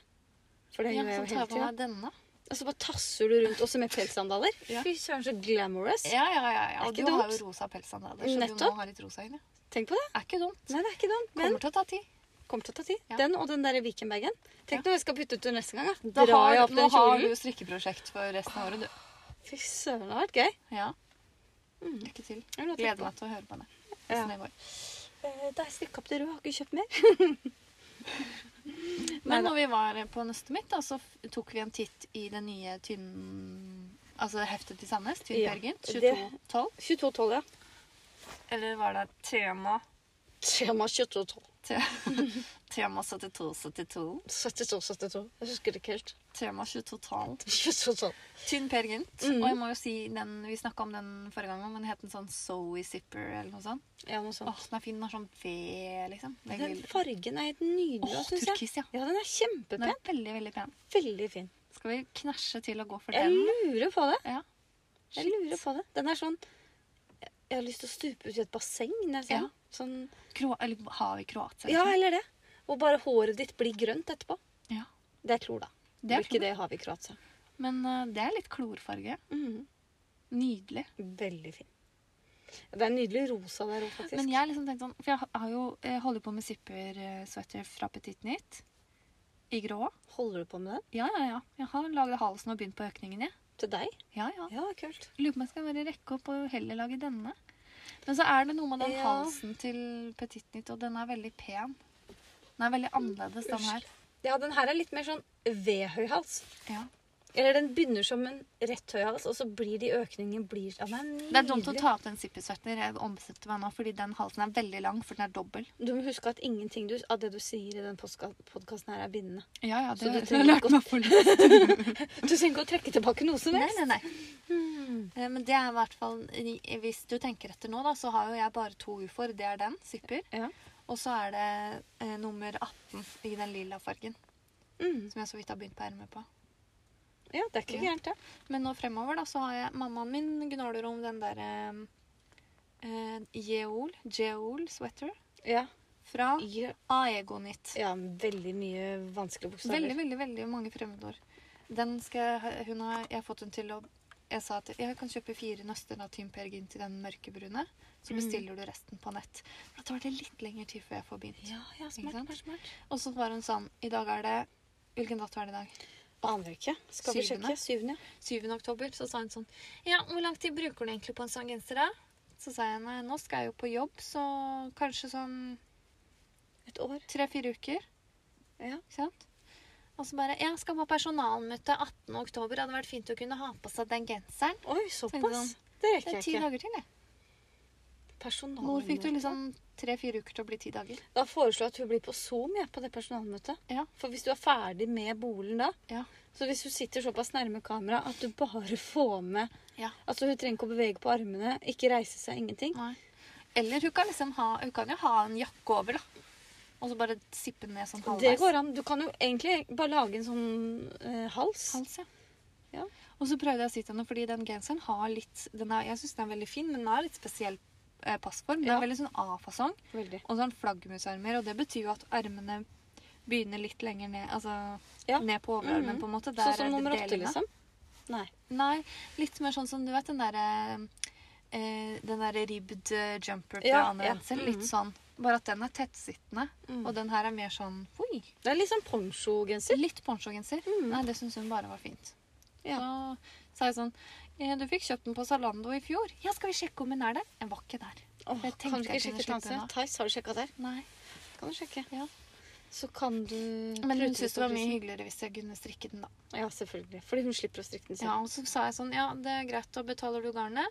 Speaker 1: For det
Speaker 2: Ja,
Speaker 1: gjør jeg
Speaker 2: så
Speaker 1: jo
Speaker 2: tar
Speaker 1: hele
Speaker 2: jeg på
Speaker 1: tida.
Speaker 2: meg denne.
Speaker 1: Og så bare tasser du rundt også med pelssandaler.
Speaker 2: Ja.
Speaker 1: Fy søren, så glamorous.
Speaker 2: Ja, ja, ja. ja.
Speaker 1: Er
Speaker 2: Og
Speaker 1: ikke
Speaker 2: du har
Speaker 1: dumt.
Speaker 2: jo rosa pelssandaler, så du
Speaker 1: Nettopp.
Speaker 2: må ha litt rosa inni.
Speaker 1: Tenk på det.
Speaker 2: Er ikke dumt.
Speaker 1: Nei, det er ikke dumt. Men
Speaker 2: Kommer til å ta tid.
Speaker 1: kommer til å ta tid.
Speaker 2: Ja.
Speaker 1: Den og den der Viken-bagen. Tenk når jeg skal putte ut den neste gang. Da.
Speaker 2: Da
Speaker 1: Drar jeg
Speaker 2: har,
Speaker 1: opp
Speaker 2: nå
Speaker 1: den
Speaker 2: har
Speaker 1: kjolen.
Speaker 2: du strikkeprosjekt for resten av året, du.
Speaker 1: Fy søren, det har vært gøy.
Speaker 2: Ja. Lykke til.
Speaker 1: Det er noe å tenke
Speaker 2: Gleder
Speaker 1: på.
Speaker 2: meg til å høre på det.
Speaker 1: Mm. Ja.
Speaker 2: Hvordan det går.
Speaker 1: Eh, Da er jeg strikka opp det røde, har ikke kjøpt mer. Neida.
Speaker 2: Men når vi var på nøstet mitt, da, så f- tok vi en titt i det nye tynn... Altså heftet til Sandnes, Tynn
Speaker 1: Ja,
Speaker 2: Peer Gynt,
Speaker 1: det-
Speaker 2: 2212.
Speaker 1: 22,12, ja.
Speaker 2: Eller var det tema
Speaker 1: Tema 22,12.
Speaker 2: Tema 7272?
Speaker 1: 72-72. Jeg husker det ikke helt.
Speaker 2: Tema 2212.
Speaker 1: 22-12.
Speaker 2: Tynn Peer Gynt.
Speaker 1: Mhm.
Speaker 2: Og jeg må jo si den Vi snakka om den forrige gang, men den het en sånn Zoe Zipper eller noe sånt.
Speaker 1: Ja, noe sånt.
Speaker 2: Åh, den er fin. Den er sånn ved, liksom. Det er
Speaker 1: Den
Speaker 2: gul-
Speaker 1: fargen er helt nydelig,
Speaker 2: Åh,
Speaker 1: synes jeg.
Speaker 2: turkis, ja.
Speaker 1: Ja, den er
Speaker 2: Den
Speaker 1: kjempepen.
Speaker 2: er veldig, veldig pen.
Speaker 1: Veldig fin.
Speaker 2: Skal vi knæsje til og gå for
Speaker 1: Jeg
Speaker 2: den?
Speaker 1: lurer på det.
Speaker 2: Ja.
Speaker 1: Jeg lurer på det. Den er sånn Jeg har lyst til å stupe ut i et basseng når jeg ser
Speaker 2: Ja.
Speaker 1: den. Sånn,
Speaker 2: Kro eller har vi Kroatia?
Speaker 1: ja, eller det. Og bare håret ditt blir grønt etterpå.
Speaker 2: Ja.
Speaker 1: Det er klor, da.
Speaker 2: Det er
Speaker 1: Blir ikke
Speaker 2: klor.
Speaker 1: det har vi i Kroatia.
Speaker 2: Men eh, det er litt klorfarge.
Speaker 1: Mhm.
Speaker 2: Nydelig.
Speaker 1: Veldig fin. Det er en nydelig rosa der òg, faktisk.
Speaker 2: Men jeg har liksom tenkt sånn, for jeg har- har jo, jeg holder på med zipper-sweater fra Petit Nytt. I grå.
Speaker 1: Holder du på med den?
Speaker 2: Ja, ja, ja. Jeg har laget halsen og begynt på økningen, jeg.
Speaker 1: Til deg?
Speaker 2: Ja, ja.
Speaker 1: Ja, kult.
Speaker 2: Lurer på om jeg skal bare rekke opp og heller lage denne. Men så er det noe med den
Speaker 1: Ja.
Speaker 2: halsen til Petit Nytt, og den er veldig pen. Den er veldig annerledes, den her.
Speaker 1: Ja, den her er litt mer sånn vedhøy hals.
Speaker 2: Ja.
Speaker 1: Eller den begynner som en rett høy hals, og så blir de økningene blir, ja, den
Speaker 2: Det er dumt å
Speaker 1: nydelig.
Speaker 2: ta opp den zippy-svetten. Jeg ombestemte meg nå fordi den halsen er veldig lang, for den er dobbel.
Speaker 1: Du må huske at ingenting du, av det du sier i den podkasten her, er bindende.
Speaker 2: Ja, ja,
Speaker 1: Så
Speaker 2: det har
Speaker 1: du
Speaker 2: jeg
Speaker 1: trenger
Speaker 2: lært
Speaker 1: ikke å-
Speaker 2: meg for lenge.
Speaker 1: Du trenger ikke å trekke tilbake noe som
Speaker 2: Nei,
Speaker 1: helst. Mm.
Speaker 2: nei, nei. Eh, Men det er i hvert fall Hvis du tenker etter nå, da, så har jo jeg bare to ufoer. Det er den, zipper.
Speaker 1: Ja.
Speaker 2: Og så er det eh, nummer 18 i den lilla fargen,
Speaker 1: Mm.
Speaker 2: som jeg så vidt har begynt på ermet på.
Speaker 1: Ja, det er ikke
Speaker 2: Ja.
Speaker 1: gærent, det.
Speaker 2: Men nå fremover, da, så har jeg Mammaen min gnåler om den derre eh, Jeol, Jeol sweater
Speaker 1: Ja.
Speaker 2: fra
Speaker 1: Ja.
Speaker 2: Aegonit.
Speaker 1: ja, veldig mye vanskelige bokstaver.
Speaker 2: Veldig, veldig veldig mange fremmedord. Den skal jeg, hun har, jeg har fått hun til å Jeg sa at jeg kan kjøpe fire nøster av Team Per Gynt i den mørkebrune. Så
Speaker 1: Mm.
Speaker 2: bestiller du resten på nett. Da tar det litt lengre tid før jeg får begynt.
Speaker 1: Ja, ja,
Speaker 2: Ikke
Speaker 1: smart,
Speaker 2: sant?
Speaker 1: smart, smart.
Speaker 2: Og så var hun sånn I dag er det Hvilken dato er det i dag?
Speaker 1: Aner ikke. Skal vi
Speaker 2: Syvende?
Speaker 1: sjekke? Syvende.
Speaker 2: 7. oktober. Så sa hun sånn Ja, hvor lang tid bruker du egentlig på en sånn genser, da? Så sa jeg nei, nå skal jeg jo på jobb, så kanskje sånn
Speaker 1: Et år.
Speaker 2: tre-fire uker.
Speaker 1: Ja.
Speaker 2: Ikke sant? Og så bare Jeg skal på personalmøte 18. oktober. Hadde vært fint å kunne ha på seg den genseren.
Speaker 1: Oi, såpass. Det
Speaker 2: sånn, Det
Speaker 1: rekker
Speaker 2: er ti
Speaker 1: jeg ikke.
Speaker 2: dager til, jeg.
Speaker 1: Personalmøte.
Speaker 2: Når fikk du liksom tre-fire uker til å bli ti dager?
Speaker 1: Da foreslår jeg at hun blir på Zoom jeg, på det personalmøtet.
Speaker 2: Ja.
Speaker 1: For hvis du er ferdig med bolen da
Speaker 2: Ja.
Speaker 1: Så hvis du sitter såpass nærme kamera at du bare får med
Speaker 2: Ja.
Speaker 1: Altså Hun trenger ikke å bevege på armene, ikke reise seg, ingenting.
Speaker 2: Nei. Eller hun kan liksom ha Hun kan jo ha en jakke over, da. Og så bare sippe ned sånn halvveis.
Speaker 1: Det går an. Du kan jo egentlig bare lage en sånn eh, hals.
Speaker 2: Hals, ja.
Speaker 1: Ja.
Speaker 2: Altså. Og så prøvde jeg å si til henne, fordi den genseren har litt den er, Jeg syns den er veldig fin, men den har litt spesiell eh, passform. Den
Speaker 1: Ja.
Speaker 2: er veldig sånn A-fasong.
Speaker 1: Veldig.
Speaker 2: Og så har den flaggermusarmer, og det betyr jo at armene begynner litt lenger ned. Altså
Speaker 1: Ja.
Speaker 2: ned på overarmen,
Speaker 1: Mhm.
Speaker 2: på en måte. Der
Speaker 1: Sånn
Speaker 2: er
Speaker 1: som nummer åtte,
Speaker 2: delene.
Speaker 1: liksom? Nei.
Speaker 2: Nei, litt mer sånn som du vet den derre eh, Den derre ribbed eh, jumper fra
Speaker 1: Ja,
Speaker 2: Anne
Speaker 1: ja.
Speaker 2: Wenzel.
Speaker 1: Mhm.
Speaker 2: Litt sånn. Bare at den er tettsittende,
Speaker 1: Mm.
Speaker 2: og den her er mer sånn oi,
Speaker 1: Det er litt sånn ponchogenser.
Speaker 2: Litt ponchogenser.
Speaker 1: Mm.
Speaker 2: Nei, det syns hun bare var fint.
Speaker 1: Ja.
Speaker 2: Så sa jeg sånn eh, Du fikk kjøpt den på Zalando i fjor. Ja, skal vi sjekke om hun er der? Jeg var ikke der.
Speaker 1: Åh,
Speaker 2: Jeg tenkte
Speaker 1: kan du ikke
Speaker 2: jeg kunne
Speaker 1: sjekke
Speaker 2: slippe
Speaker 1: stansen?
Speaker 2: unna.
Speaker 1: Theis, har du sjekka der?
Speaker 2: Nei.
Speaker 1: Kan du sjekke?
Speaker 2: Ja.
Speaker 1: Så kan du
Speaker 2: Men
Speaker 1: prute
Speaker 2: hun syntes
Speaker 1: litt
Speaker 2: det var
Speaker 1: på
Speaker 2: mye
Speaker 1: prisen.
Speaker 2: hyggeligere hvis jeg kunne strikke den, da.
Speaker 1: Ja, selvfølgelig. Fordi hun slipper å strikke den
Speaker 2: Ja,
Speaker 1: selv.
Speaker 2: og så sa jeg sånn Ja, det er greit, da betaler du garnet.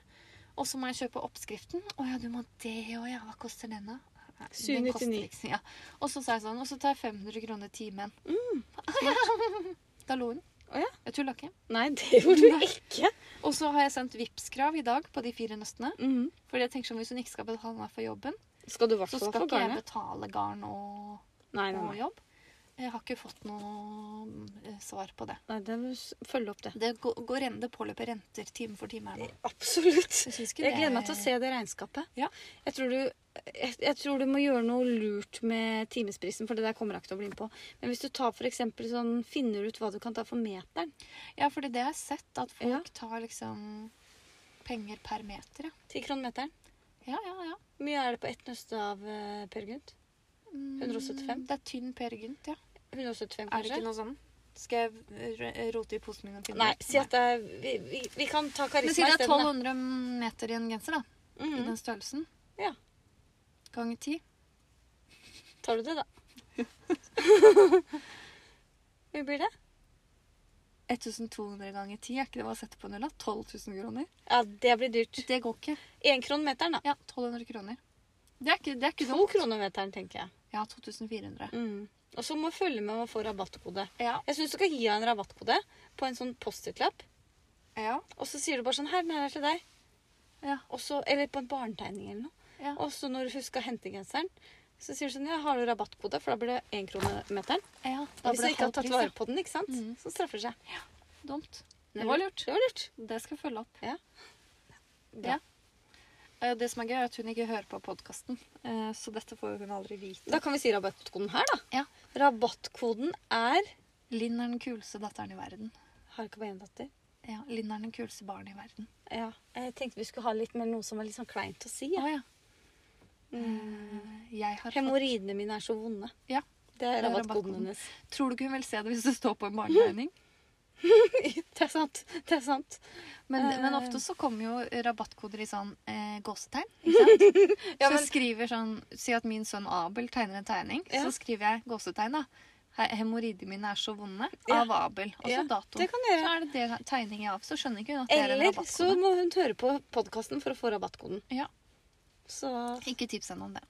Speaker 2: Og så må jeg kjøpe oppskriften. Å ja, du må det òg, ja. Hva koster den, da? Nei, den koster
Speaker 1: 799.
Speaker 2: liksom- Ja. Og så sa jeg sånn Og så tar jeg 500 kroner timen. Mm. da lo hun.
Speaker 1: Å ja.
Speaker 2: Jeg tulla ikke.
Speaker 1: Nei, det gjorde
Speaker 2: Nei.
Speaker 1: du ikke.
Speaker 2: Og så har jeg sendt Vipps-krav i dag på de fire nøstene.
Speaker 1: Mhm.
Speaker 2: Fordi jeg tenker sånn, Hvis hun ikke skal betale meg for jobben,
Speaker 1: Skal du i hvert
Speaker 2: så
Speaker 1: fall
Speaker 2: skal
Speaker 1: få
Speaker 2: ikke jeg
Speaker 1: garnet?
Speaker 2: betale garn og,
Speaker 1: Nei, nei,
Speaker 2: og
Speaker 1: nei.
Speaker 2: jobb. Jeg har ikke fått noe eh, svar på det.
Speaker 1: nei det må du s- følge opp, det.
Speaker 2: Det går, går ren- det påløper renter time for time her nå.
Speaker 1: Absolutt.
Speaker 2: Jeg, synes ikke
Speaker 1: Jeg
Speaker 2: det-
Speaker 1: gleder meg til å se det regnskapet.
Speaker 2: Ja.
Speaker 1: Jeg, tror du, jeg, jeg tror du må gjøre noe lurt med timesprisen, for det der kommer jeg ikke til å bli med på. Men hvis du tar for eksempel sånn, finner ut hva du kan ta for meteren
Speaker 2: Ja, fordi det har jeg sett at folk
Speaker 1: Ja.
Speaker 2: tar liksom penger per meter, ja.
Speaker 1: 10 kroner meteren.
Speaker 2: Ja, ja, ja.
Speaker 1: Hvor mye er det på ett nøste av eh, Per Gynt?
Speaker 2: Mm,
Speaker 1: 175?
Speaker 2: Det er tynn Per Gynt, ja.
Speaker 1: 175,
Speaker 2: Er det
Speaker 1: kanskje?
Speaker 2: ikke noe sånn? Skal jeg r- rote i posen min og finne
Speaker 1: Nei,
Speaker 2: det?
Speaker 1: si at det er Vi, vi, vi kan ta
Speaker 2: Men si
Speaker 1: karisma
Speaker 2: det er
Speaker 1: isteden.
Speaker 2: 1200 meter i en genser, da.
Speaker 1: da.
Speaker 2: I
Speaker 1: Mhm.
Speaker 2: den størrelsen.
Speaker 1: Ja.
Speaker 2: Ganger ti.
Speaker 1: Tar du det, da? Hvor blir det?
Speaker 2: 1200 ganger ti, er ikke det hva jeg setter på nulla? 12 000 kroner?
Speaker 1: Ja, det blir dyrt.
Speaker 2: Det går ikke.
Speaker 1: Én krone meteren, da.
Speaker 2: Ja, 1200 kroner. Det er ikke, det er ikke
Speaker 1: To
Speaker 2: dumt.
Speaker 1: kroner meteren, tenker jeg.
Speaker 2: Ja, 2400.
Speaker 1: Mm. Og så må du følge med om å få rabattkode.
Speaker 2: Ja.
Speaker 1: Jeg syns du skal gi henne en rabattkode på en sånn Post-It-lapp.
Speaker 2: Ja.
Speaker 1: Og så sier du bare sånn Her, den her er til deg.
Speaker 2: Ja.
Speaker 1: Og så, eller på en barnetegning eller noe.
Speaker 2: Ja.
Speaker 1: Og så når du husker å hente genseren, så sier du sånn Ja, har du rabattkode? For da blir det én krone meteren.
Speaker 2: ja.
Speaker 1: Hvis
Speaker 2: Da blir
Speaker 1: du
Speaker 2: det
Speaker 1: ikke har
Speaker 2: halv
Speaker 1: tatt
Speaker 2: pris,
Speaker 1: vare
Speaker 2: ja.
Speaker 1: på den, ikke sant?
Speaker 2: Mhm.
Speaker 1: så straffer det seg.
Speaker 2: Dumt.
Speaker 1: Det var lurt. Det var lurt.
Speaker 2: Det skal jeg følge opp.
Speaker 1: Ja. Bra.
Speaker 2: Ja. Eh, Det som er gøy, er at hun ikke hører på podkasten, så dette får hun aldri vite.
Speaker 1: Da kan vi si rabattkoden her, da.
Speaker 2: Ja.
Speaker 1: Rabattkoden er
Speaker 2: Linn er den kuleste datteren i verden.
Speaker 1: Har ikke bare én datter.
Speaker 2: Ja, Linn er den kuleste barnet i verden.
Speaker 1: Ja. Jeg tenkte vi skulle ha litt mer noe som er litt sånn kleint å si.
Speaker 2: Å
Speaker 1: Ja.
Speaker 2: ja. Eh, Jeg har fått...
Speaker 1: Hemoroidene mine er så vonde.
Speaker 2: Ja.
Speaker 1: Det er
Speaker 2: Det er
Speaker 1: rabattkoden
Speaker 2: rabattkoden.
Speaker 1: hennes.
Speaker 2: Tror du ikke hun vil se det hvis det står på en barneregning?
Speaker 1: Det er sant. Det er sant.
Speaker 2: Men,
Speaker 1: Eh.
Speaker 2: men ofte så kommer jo rabattkoder i sånn eh, gåsetegn. Ikke sant?
Speaker 1: Ja,
Speaker 2: så
Speaker 1: men-
Speaker 2: jeg skriver sånn Si at min sønn Abel tegner en tegning,
Speaker 1: Ja.
Speaker 2: så skriver jeg gåsetegn, da. he- hemoroidene mine er så vonde.
Speaker 1: Ja.
Speaker 2: Av Abel. Og så
Speaker 1: Ja,
Speaker 2: datoen.
Speaker 1: Det kan du gjøre.
Speaker 2: Så er det det tegningen av, så skjønner ikke hun at det er en
Speaker 1: Eller så
Speaker 2: rabattkode.
Speaker 1: må hun høre på podkasten for å få rabattkoden.
Speaker 2: Ja.
Speaker 1: Så
Speaker 2: Ikke tips henne om det.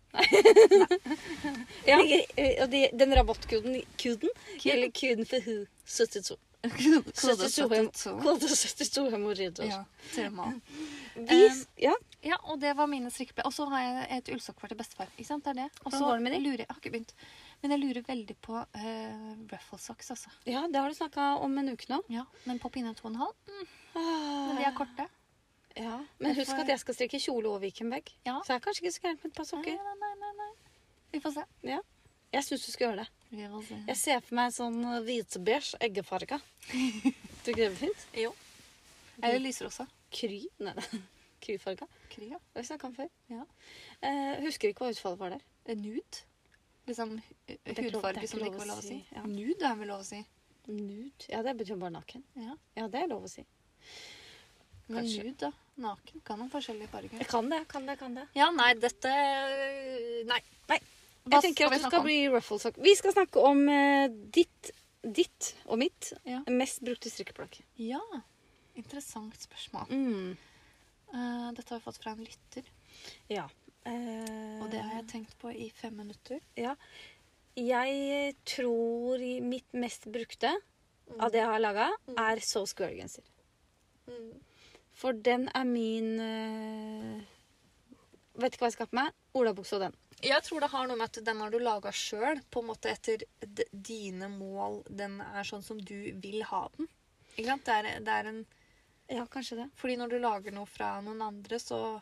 Speaker 1: ja. eh, Og de, den rabattkoden kuden, gjelder kuden for hun 72.
Speaker 2: Kode 72.
Speaker 1: Kode 72 hemoroider.
Speaker 2: Ja, tema.
Speaker 1: Vi,
Speaker 2: Um,
Speaker 1: ja.
Speaker 2: Ja, og det var mine strikkeplagg. Og så har jeg et ullsokkvar til bestefar. Ikke sant? Det er det. Og så
Speaker 1: Hvordan går det med de?
Speaker 2: lurer jeg har ikke begynt. Men jeg lurer veldig på uh, rufflesocks, altså.
Speaker 1: ja, det har du snakka om en uke nå.
Speaker 2: Ja, men på pinne to og en halv. Men
Speaker 1: Men,
Speaker 2: de er korte.
Speaker 1: Ah, ja. Men husk at jeg skal strikke kjole og vikenbag.
Speaker 2: Ja.
Speaker 1: Så jeg er kanskje ikke så gæren med et par sokker.
Speaker 2: Nei, nei, nei, nei. Vi får se.
Speaker 1: Ja. Jeg syns du skal gjøre det.
Speaker 2: Vi får se.
Speaker 1: Jeg ser for meg en sånn hvitebeige eggefarga. Tror du ikke det blir fint?
Speaker 2: Jo. Eller lyserosa.
Speaker 1: Kry. Nei, nei. kryfarga.
Speaker 2: Kry, ja.
Speaker 1: Det har vi snakka om før.
Speaker 2: Ja.
Speaker 1: Eh, husker ikke hva utfallet var der.
Speaker 2: Eh, Nude. Liksom eh,
Speaker 1: er ikke lov- det er
Speaker 2: hudfarge
Speaker 1: ikke
Speaker 2: som det
Speaker 1: lov
Speaker 2: ikke var
Speaker 1: å
Speaker 2: lov å si.
Speaker 1: si, ja.
Speaker 2: Nude er vel lov å si.
Speaker 1: Nude. Ja, det betyr bare naken.
Speaker 2: Ja.
Speaker 1: Ja, det er lov å si.
Speaker 2: Men
Speaker 1: Kanskje.
Speaker 2: nude, da. Naken. Kan ha forskjellige farger.
Speaker 1: Jeg kan det, kan det, kan det.
Speaker 2: Ja, nei, dette eh, Nei.
Speaker 1: Nei.
Speaker 2: Hva
Speaker 1: Jeg tenker
Speaker 2: skal vi
Speaker 1: at du
Speaker 2: snakke
Speaker 1: skal
Speaker 2: om?
Speaker 1: bli rufflesock. Vi skal snakke om eh, ditt, ditt og mitt
Speaker 2: Ja.
Speaker 1: mest brukte strikkeplagg.
Speaker 2: ja. Interessant spørsmål.
Speaker 1: Mm.
Speaker 2: Eh, dette har vi fått fra en lytter,
Speaker 1: Ja. Eh,
Speaker 2: og det har jeg tenkt på i fem minutter.
Speaker 1: Ja. Jeg tror i mitt mest brukte
Speaker 2: Mm.
Speaker 1: av det jeg har laga, er So Square-genser.
Speaker 2: Mm.
Speaker 1: For den er min eh, Vet ikke hva jeg skal ha på meg. Olabukse og den.
Speaker 2: Jeg tror det har noe med at den har du laga sjøl, på en måte etter d dine mål. Den er sånn som du vil ha den. Ikke sant? Det er, det er en,
Speaker 1: Ja, kanskje det.
Speaker 2: fordi når du lager noe fra noen andre, så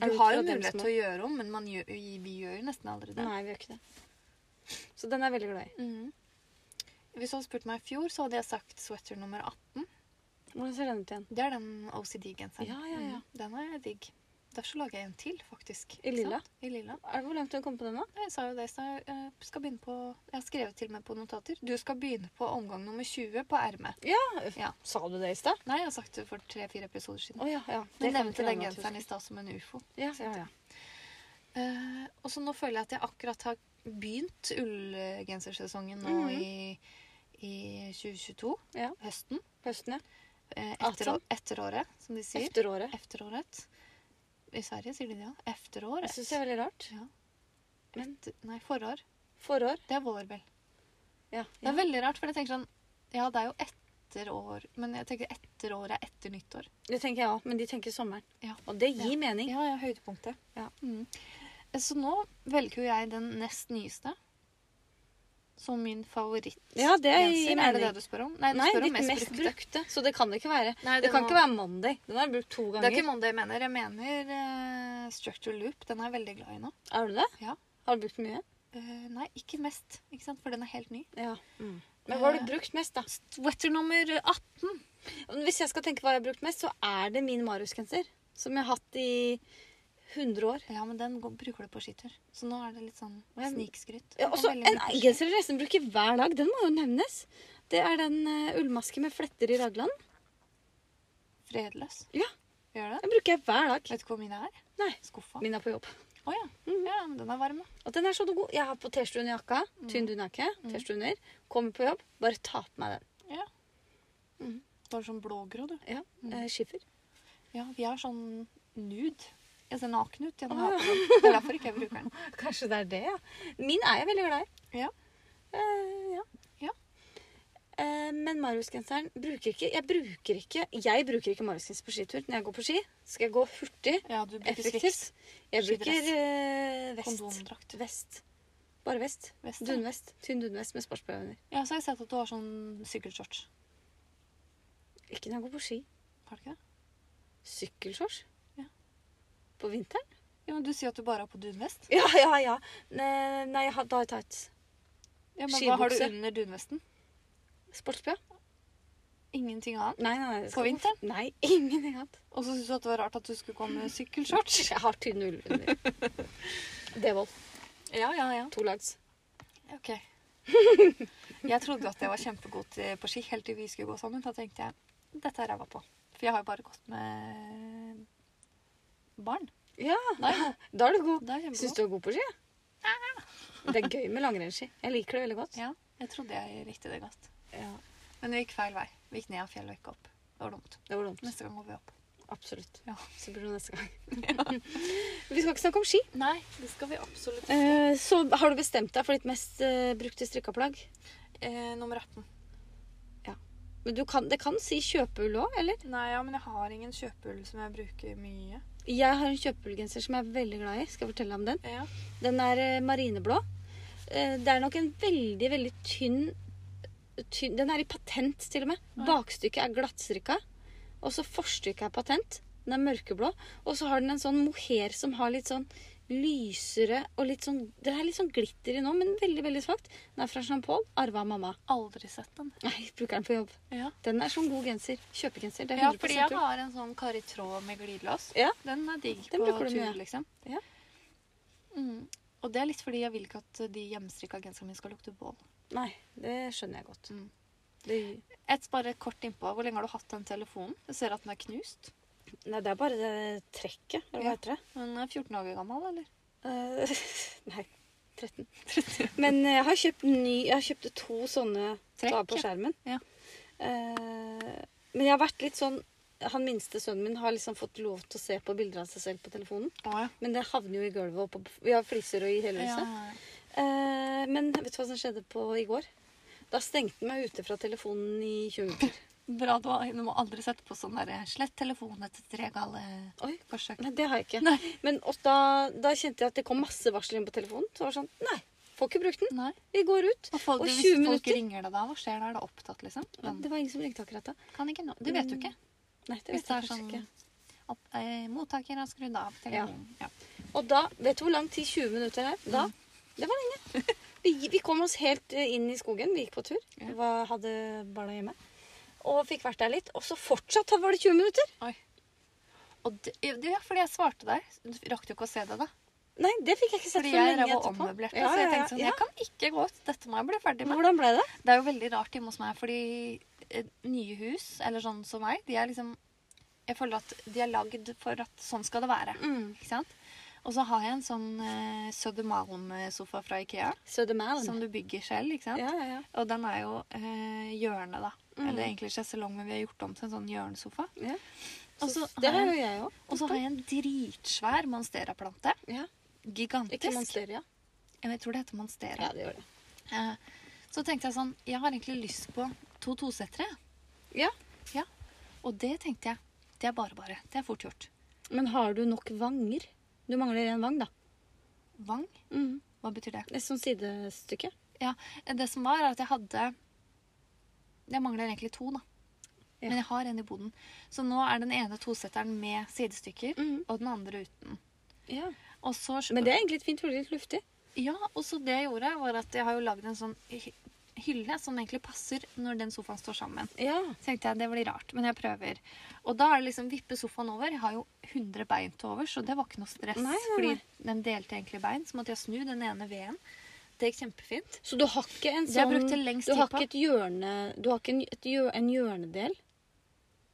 Speaker 1: Er
Speaker 2: Du
Speaker 1: det
Speaker 2: har
Speaker 1: fra
Speaker 2: jo
Speaker 1: dem
Speaker 2: mulighet
Speaker 1: som
Speaker 2: til å gjøre om, men man gjør, vi gjør jo nesten aldri det.
Speaker 1: Nei, vi gjør ikke det. Så den er jeg veldig glad i.
Speaker 2: Mhm. Hvis du hadde spurt meg i fjor, så hadde jeg sagt sweater nummer 18.
Speaker 1: Hvordan ser den ut igjen?
Speaker 2: Det er den OCD-genseren.
Speaker 1: Ja, ja, ja.
Speaker 2: Mhm. Den er digg. Derfor lager jeg en til, faktisk.
Speaker 1: I
Speaker 2: Ikke
Speaker 1: lilla?
Speaker 2: sant? I lilla.
Speaker 1: Er det Hvor langt har du kommet på den, da?
Speaker 2: Jeg sa jo det, så jeg skal begynne på Jeg har skrevet til meg på notater. Du skal begynne på omgang nummer 20 på ermet. Ja.
Speaker 1: Sa du det i stad?
Speaker 2: Nei, jeg har sagt det for tre-fire episoder siden.
Speaker 1: Å ja, ja.
Speaker 2: Du
Speaker 1: kan ikke
Speaker 2: nevnte den
Speaker 1: regne med at du
Speaker 2: genseren i
Speaker 1: husker.
Speaker 2: stad som en ufo.
Speaker 1: Ja, ja, ja.
Speaker 2: Eh, og så nå føler jeg at jeg akkurat har begynt ullgensersesongen nå
Speaker 1: Mhm.
Speaker 2: i, i 2022.
Speaker 1: Ja.
Speaker 2: Høsten.
Speaker 1: Høsten, ja.
Speaker 2: Eh, etter,
Speaker 1: Afton.
Speaker 2: etteråret, som de sier.
Speaker 1: Efteråret.
Speaker 2: Efteråret. I Sverige sier de det, ja.
Speaker 1: Jeg
Speaker 2: Efteråret.
Speaker 1: syns det er veldig rart.
Speaker 2: Ja.
Speaker 1: Men
Speaker 2: Nei, forår.
Speaker 1: forår
Speaker 2: Det er vår, vel.
Speaker 1: ja,
Speaker 2: Det
Speaker 1: ja.
Speaker 2: er veldig rart, for jeg tenker sånn Ja, det er jo etter år, men jeg tenker etter år er etter nyttår.
Speaker 1: Det tenker jeg òg, men de tenker sommeren.
Speaker 2: Ja.
Speaker 1: Og det gir mening.
Speaker 2: Ja, ja, høydepunktet.
Speaker 1: Ja.
Speaker 2: Mm. Så nå velger jo jeg den nest nyeste. Som min favoritt.
Speaker 1: Ja, det gir
Speaker 2: genser. Er det det
Speaker 1: mening.
Speaker 2: du spør om? Nei, du
Speaker 1: Nei,
Speaker 2: spør om
Speaker 1: ditt
Speaker 2: mest,
Speaker 1: mest
Speaker 2: brukte.
Speaker 1: brukte. Så det kan det ikke være.
Speaker 2: Nei,
Speaker 1: Det
Speaker 2: den
Speaker 1: kan
Speaker 2: må-
Speaker 1: ikke være Monday. Den har jeg brukt to
Speaker 2: Det er
Speaker 1: ganger.
Speaker 2: ikke Monday jeg mener. Jeg mener eh, Structure Loop. Den er jeg veldig glad i nå.
Speaker 1: Er du det?
Speaker 2: Ja.
Speaker 1: Har du brukt mye?
Speaker 2: Eh, nei, ikke mest, ikke sant? for den er helt ny.
Speaker 1: Ja. Men hva har
Speaker 2: Eh.
Speaker 1: du brukt mest, da?
Speaker 2: Sweater nummer 18.
Speaker 1: Men Hvis jeg skal tenke hva jeg har brukt mest, så er det min Marius-genser. Som jeg har hatt i 100 år.
Speaker 2: Ja, men den går, bruker du på skitur. Så nå er det litt sånn
Speaker 1: Ja, men-
Speaker 2: snikskryt.
Speaker 1: Ja,
Speaker 2: Den
Speaker 1: også
Speaker 2: er veldig
Speaker 1: en
Speaker 2: mye på skitur.
Speaker 1: genser jeg nesten bruker hver dag. Den må jo nevnes. Det er den eh, ullmaske med fletter i raglan.
Speaker 2: Fredløs.
Speaker 1: Ja.
Speaker 2: Gjør det?
Speaker 1: Den bruker jeg hver dag.
Speaker 2: Vet du hvor mine er?
Speaker 1: Nei. Mm.
Speaker 2: Skuffa.
Speaker 1: Min er på jobb.
Speaker 2: Å ja. ja. men Den er varm, da.
Speaker 1: Og den er så god. Jeg har på T-skjorte under jakka. Tynn dunjakke. T-skjorte under. Kommer på jobb, bare ta på meg den.
Speaker 2: Ja. Bare sånn blågrå, du.
Speaker 1: Ja, eh, Skiffer.
Speaker 2: Ja, vi er sånn nude. Jeg ser naken ut. Jeg må
Speaker 1: Å,
Speaker 2: ha på den. Det er derfor ikke jeg bruker den.
Speaker 1: Kanskje det er det, ja. Min er jeg veldig glad i.
Speaker 2: Ja.
Speaker 1: Eh, ja.
Speaker 2: Ja.
Speaker 1: Eh, men Marius-genseren bruker ikke Jeg bruker ikke Jeg bruker ikke Marius-genser på skitur. Når jeg går på ski, skal jeg gå hurtig,
Speaker 2: Ja, du bruker slips.
Speaker 1: effektivt. Jeg
Speaker 2: Skidress.
Speaker 1: bruker eh, vest.
Speaker 2: Kondomdrakt.
Speaker 1: Vest. Bare vest.
Speaker 2: Vest, ja.
Speaker 1: Dunvest. Tynn dunvest med sportsbh under.
Speaker 2: Ja, så har jeg sett at du har sånn sykkelshorts.
Speaker 1: Ikke når jeg går på ski.
Speaker 2: Har du ikke det?
Speaker 1: Sykkelshorts?
Speaker 2: Ja.
Speaker 1: På vinteren?
Speaker 2: Ja, men Du sier at du bare har på dunvest.
Speaker 1: Ja, ja, ja. Nei, nei, jeg har- da har jeg tights.
Speaker 2: Ja, men Hva har du
Speaker 1: Skibukse.
Speaker 2: under dunvesten?
Speaker 1: Sports-BH?
Speaker 2: Ingenting annet.
Speaker 1: Nei, nei, nei. det
Speaker 2: På
Speaker 1: skal gå-
Speaker 2: vinteren?
Speaker 1: Nei, ingenting annet.
Speaker 2: Og så syntes du at det var rart at du skulle gå med sykkelshorts.
Speaker 1: Jeg har tynn ull under. Devold.
Speaker 2: Ja, ja, ja.
Speaker 1: To lags.
Speaker 2: Ok. Jeg trodde at jeg var kjempegod til, på ski helt til vi skulle gå sammen. Da tenkte jeg dette er ræva på. For jeg har jo bare gått med barn.
Speaker 1: Ja,
Speaker 2: Da er jeg god.
Speaker 1: da er du god.
Speaker 2: Da er jeg
Speaker 1: Syns
Speaker 2: kjempegod.
Speaker 1: du er god på ski? Det er gøy med langrennsski. Jeg liker det veldig godt.
Speaker 2: Ja. Jeg trodde jeg likte det godt.
Speaker 1: Ja,
Speaker 2: Men vi gikk feil vei. Vi gikk ned av fjellet og ikke opp. Det var dumt.
Speaker 1: det var dumt.
Speaker 2: Neste gang går vi opp.
Speaker 1: Absolutt.
Speaker 2: Ja.
Speaker 1: Så blir det neste gang. Vi skal ikke snakke om ski.
Speaker 2: Nei, det skal vi absolutt
Speaker 1: Eh, Så har du bestemt deg for ditt mest eh, brukte strikka plagg?
Speaker 2: Eh, nummer 18.
Speaker 1: Men du kan, det kan si kjøpeull òg, eller?
Speaker 2: Nei, ja, men jeg har ingen kjøpeull som jeg bruker mye.
Speaker 1: Jeg har en kjøpeullgenser som jeg er veldig glad i. Skal jeg fortelle om den?
Speaker 2: Ja.
Speaker 1: Den er eh, marineblå. Eh, Det er nok en veldig, veldig tynn, tynn Den er i patent, til og med.
Speaker 2: Oi.
Speaker 1: Bakstykket er glattstrikka. Og så forstykket er patent. Den er mørkeblå. Og så har den en sånn mohair som har litt sånn lysere og litt sånn Det er litt sånn glitter i nå, men veldig, veldig svakt. Den er fra Jean-Paul. Arva av mamma.
Speaker 2: Aldri sett den.
Speaker 1: Nei, bruker den på jobb.
Speaker 2: Ja.
Speaker 1: Den er som god genser. Kjøpegenser. Det er
Speaker 2: Ja,
Speaker 1: 100
Speaker 2: fordi jeg
Speaker 1: ull.
Speaker 2: har en sånn kar i tråd med glidelås.
Speaker 1: Ja.
Speaker 2: Den er digg
Speaker 1: Den
Speaker 2: på
Speaker 1: bruker
Speaker 2: tur,
Speaker 1: du mye.
Speaker 2: liksom.
Speaker 1: Ja.
Speaker 2: Mm. Og det er litt fordi jeg vil ikke at de hjemmestrikka genserne mine skal lukte bål.
Speaker 1: Nei, det skjønner jeg godt.
Speaker 2: Mm.
Speaker 1: Det,
Speaker 2: Et bare kort innpå. Hvor lenge har du hatt den telefonen? Jeg ser at den er knust.
Speaker 1: nei, det er bare det trekket, eller
Speaker 2: Ja.
Speaker 1: hva heter det?
Speaker 2: Den er 14 dager gammel, eller?
Speaker 1: Eh, nei, 13. Men eh, jeg har kjøpt, ny, jeg har kjøpt to sånne
Speaker 2: Trekk,
Speaker 1: Trekk, på
Speaker 2: ja.
Speaker 1: skjermen.
Speaker 2: Ja.
Speaker 1: Eh, men jeg har vært litt sånn Han minste sønnen min har liksom fått lov til å se på bilder av seg selv på telefonen.
Speaker 2: Å ja.
Speaker 1: Men det havner jo i gulvet. Og på, vi har fliser og i hele
Speaker 2: ja.
Speaker 1: huset. Eh, men vet du hva som skjedde på i går? Da stengte han meg ute fra telefonen i 20 minutter.
Speaker 2: Bra du har Du må aldri sette på sånn derre slett telefon etter tre gale
Speaker 1: Oi,
Speaker 2: forsøk.
Speaker 1: Nei, det har jeg ikke.
Speaker 2: Nei.
Speaker 1: Men og da, da kjente jeg at det kom masse varsler inn på telefonen. Så var det sånn Nei, får ikke brukt den.
Speaker 2: Nei.
Speaker 1: Vi går ut.
Speaker 2: Og, folk,
Speaker 1: Og
Speaker 2: hvis
Speaker 1: 20
Speaker 2: folk
Speaker 1: minutter?
Speaker 2: ringer deg da, hva skjer da? Er det opptatt, liksom? Den
Speaker 1: Det var ingen som ringte akkurat da.
Speaker 2: kan ikke nå. Du vet jo ikke.
Speaker 1: Nei, det
Speaker 2: Hvis
Speaker 1: vet
Speaker 2: det
Speaker 1: jeg
Speaker 2: er sånn
Speaker 1: kanskje ikke.
Speaker 2: opp, eh, Mottaker har skrudd av telefonen. Ja.
Speaker 1: Og da Vet du hvor lang tid 20 minutter er? Da Det var lenge. Vi, vi kom oss helt eh, inn i skogen. Vi gikk på tur.
Speaker 2: Ja.
Speaker 1: Var, hadde barna hjemme. Og fikk vært der litt. Og så fortsatt var det 20 minutter!
Speaker 2: Oi. Og det, det er fordi jeg svarte deg. Du rakk jo ikke å se det, da.
Speaker 1: Nei, det fikk jeg ikke sett
Speaker 2: Fordi
Speaker 1: for
Speaker 2: jeg
Speaker 1: lenge
Speaker 2: drev og
Speaker 1: etterpå.
Speaker 2: ommøblerte.
Speaker 1: Ja,
Speaker 2: så jeg
Speaker 1: ja,
Speaker 2: tenkte sånn
Speaker 1: ja.
Speaker 2: Jeg kan ikke gå ut. Dette må jeg bli ferdig med.
Speaker 1: Hvordan ble det?
Speaker 2: Det er jo veldig rart hjemme hos meg, fordi eh, nye hus, eller sånn som meg, de er liksom Jeg føler at de er lagd for at sånn skal det være. Ikke sant? Og så har jeg en sånn eh, Södermalm-sofa fra Ikea
Speaker 1: So the man.
Speaker 2: som du bygger selv. ikke sant?
Speaker 1: Ja, ja, ja.
Speaker 2: Og den er jo eh, hjørne, da.
Speaker 1: Mm.
Speaker 2: Eller egentlig sjeselong, men vi har gjort om til en sånn hjørnesofa.
Speaker 1: ja.
Speaker 2: Og
Speaker 1: Så,
Speaker 2: så
Speaker 1: det
Speaker 2: har
Speaker 1: har
Speaker 2: jeg-
Speaker 1: jo jeg òg.
Speaker 2: Og så har jeg en dritsvær monsteraplante.
Speaker 1: Ja.
Speaker 2: Gigantisk.
Speaker 1: Ikke monsteria.
Speaker 2: Jeg tror det heter monstera.
Speaker 1: Ja, det gjør det.
Speaker 2: Eh, Så tenkte jeg sånn Jeg har egentlig lyst på to tosettere.
Speaker 1: Ja.
Speaker 2: Ja. Og det tenkte jeg. Det er bare bare. Det er fort gjort.
Speaker 1: Men har du nok vanger? Du mangler en vang, da.
Speaker 2: Vang?
Speaker 1: Mm.
Speaker 2: Hva betyr det?
Speaker 1: Et sånt sidestykke.
Speaker 2: Ja, Det som var, er at jeg hadde Jeg mangler egentlig to, da.
Speaker 1: Ja.
Speaker 2: Men jeg har en i boden. Så nå er den ene tosetteren med sidestykker,
Speaker 1: Mm.
Speaker 2: og den andre uten.
Speaker 1: Ja.
Speaker 2: Og så
Speaker 1: Men det er egentlig litt fint, for det er litt luftig.
Speaker 2: Ja, og så det jeg gjorde, var at jeg har jo lagd en sånn hy- hylle som egentlig passer når den sofaen står sammen.
Speaker 1: Ja.
Speaker 2: Så tenkte jeg, det blir rart, men jeg prøver. Og da er det liksom vippe sofaen over. Jeg har jo 100 bein til over, så det var ikke noe stress.
Speaker 1: Nei, nei, nei.
Speaker 2: Fordi den delte egentlig bein, så måtte jeg snu den ene veden. Det gikk kjempefint.
Speaker 1: Så du har ikke en
Speaker 2: Det jeg
Speaker 1: sånn
Speaker 2: brukte lengst
Speaker 1: Du har
Speaker 2: tid
Speaker 1: ikke
Speaker 2: på.
Speaker 1: et hjørne Du har ikke en, et hjør, en hjørnedel?